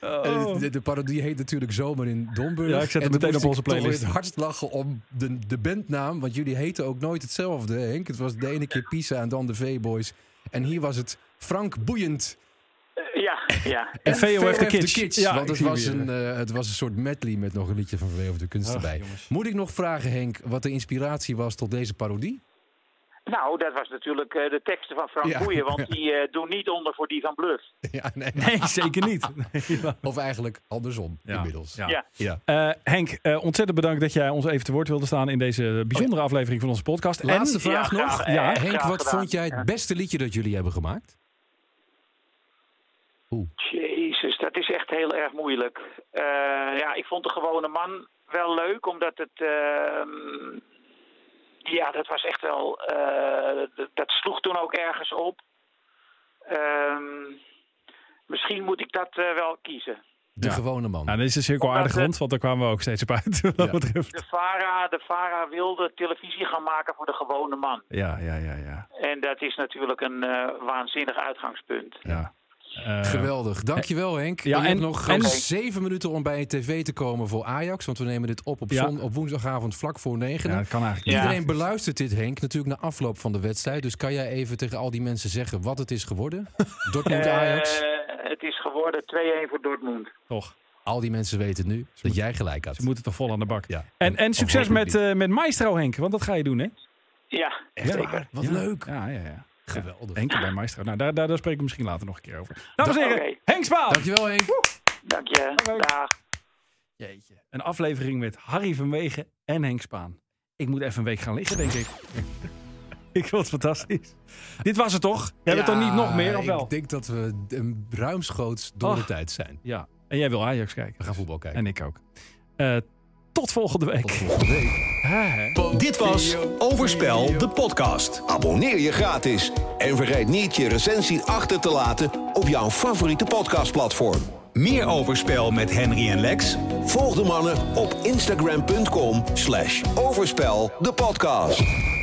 S4: En het de, de parodie heet natuurlijk Zomer in Domburg.
S3: Ja, ik zet hem
S4: En toen
S3: meteen
S4: moest
S3: op onze
S4: ik toch
S3: playlist.
S4: in het hardst lachen om de, de bandnaam. Want jullie heten ook nooit hetzelfde, Henk. Het was de ene keer Pisa en dan de V-Boys. En hier was het Frank Boeiend. Eh.
S8: Ja, ja.
S3: En VO heeft de kids. Ja,
S4: want
S3: ik
S4: het
S3: zie
S4: was,
S3: hem
S4: een,
S3: weer.
S4: eh, het was een soort medley met nog een liedje van VO of de Kunst
S3: Ach,
S4: erbij.
S3: jongens.
S4: Moet ik nog vragen, Henk, wat de inspiratie was tot deze parodie?
S8: Nou, dat was natuurlijk eh, de teksten van Frank
S4: Ja.
S8: Boeien, want die eh, doen niet onder voor die van Bluff.
S4: Ja, nee.
S3: Nee, zeker niet. Nee, maar-
S4: Of eigenlijk andersom
S3: Ja,
S4: inmiddels.
S3: ja.
S8: Ja.
S4: Ja.
S3: Eh, Henk, eh, ontzettend bedankt dat jij ons even te woord wilde staan in deze bijzondere aflevering van onze podcast.
S4: Laatste
S3: en,
S4: vraag
S8: Ja,
S4: nog.
S8: graag, eh,
S3: Ja,
S8: graag
S4: Henk, wat
S8: gedaan.
S4: vond jij het beste liedje dat jullie hebben gemaakt?
S8: Jezus, dat is echt heel erg moeilijk. Eh, ja, ik vond de gewone man wel leuk, omdat het. ehm, ja, dat was echt wel. eh, dat, dat sloeg toen ook ergens op. Ehm, misschien moet ik dat eh, wel kiezen.
S4: De
S3: Ja.
S4: gewone man.
S3: Nou, dit is een cirkel aardig rond, want daar kwamen we ook steeds op uit. wat dat
S4: Ja.
S3: betreft.
S8: De Vara, de Vara wilde televisie gaan maken voor de gewone man.
S3: Ja, ja, ja, ja.
S8: En dat is natuurlijk een eh, waanzinnig uitgangspunt.
S3: ja. Eh,
S4: Geweldig. Dankjewel Henk.
S3: Ja,
S4: Ja, en,
S3: en-
S4: nog
S3: en-
S4: gewoon zeven minuten om bij je tv te komen voor Ajax. Want we nemen dit op op,
S3: Ja.
S4: zon, op woensdagavond vlak voor negen.
S3: ja, dat kan eigenlijk
S8: Ja.
S3: niet.
S4: Iedereen beluistert dit Henk natuurlijk na afloop van de wedstrijd. Dus kan jij even tegen al die mensen zeggen wat het is geworden? Dortmund Ajax.
S8: Eh, het is geworden 2-1 voor Dortmund.
S3: Toch.
S4: Al die mensen weten nu dat jij gelijk had.
S3: Ze moeten toch vol aan de bak.
S4: Ja.
S3: En, en
S4: Of
S3: succes
S4: hopelijk
S3: met,
S4: niet.
S3: eh, met Maestro, Henk. Want dat ga je doen, hè?
S8: Ja,
S4: Echt waar? Wat
S3: Ja.
S4: leuk.
S3: Ja, ja, ja.
S4: Geweldig.
S3: Henk bij Maestro. Nou, daar, daar, daar spreken we misschien later nog een keer over. Dames en
S8: Oké.
S3: heren, Henk Spaal.
S4: Dankjewel Henk.
S8: dank je.
S3: Leuk.
S8: Dag.
S3: Jeetje. Een aflevering met Harry Vermegen en Henk Spaan. Ik moet even een week gaan liggen, denk ik. ik vond het fantastisch. Dit was het toch? Jij hebt het
S4: Ja,
S3: dan niet nog meer, of wel? Oh.
S4: Ik denk dat we een ruimschoots door de
S3: Och.
S4: tijd zijn.
S3: Ja. En jij wil Ajax kijken.
S4: We gaan voetbal kijken.
S3: En ik ook. Eh, tot volgende week.
S4: Tot volgende week.
S3: Hè, hè.
S1: Dit was Overspel, de podcast.
S2: Abonneer je gratis. En vergeet niet je recensie achter te laten op jouw favoriete podcastplatform.
S1: Meer Overspel met Henry en Lex
S2: Volg de mannen op instagram.com slash overspel de podcast.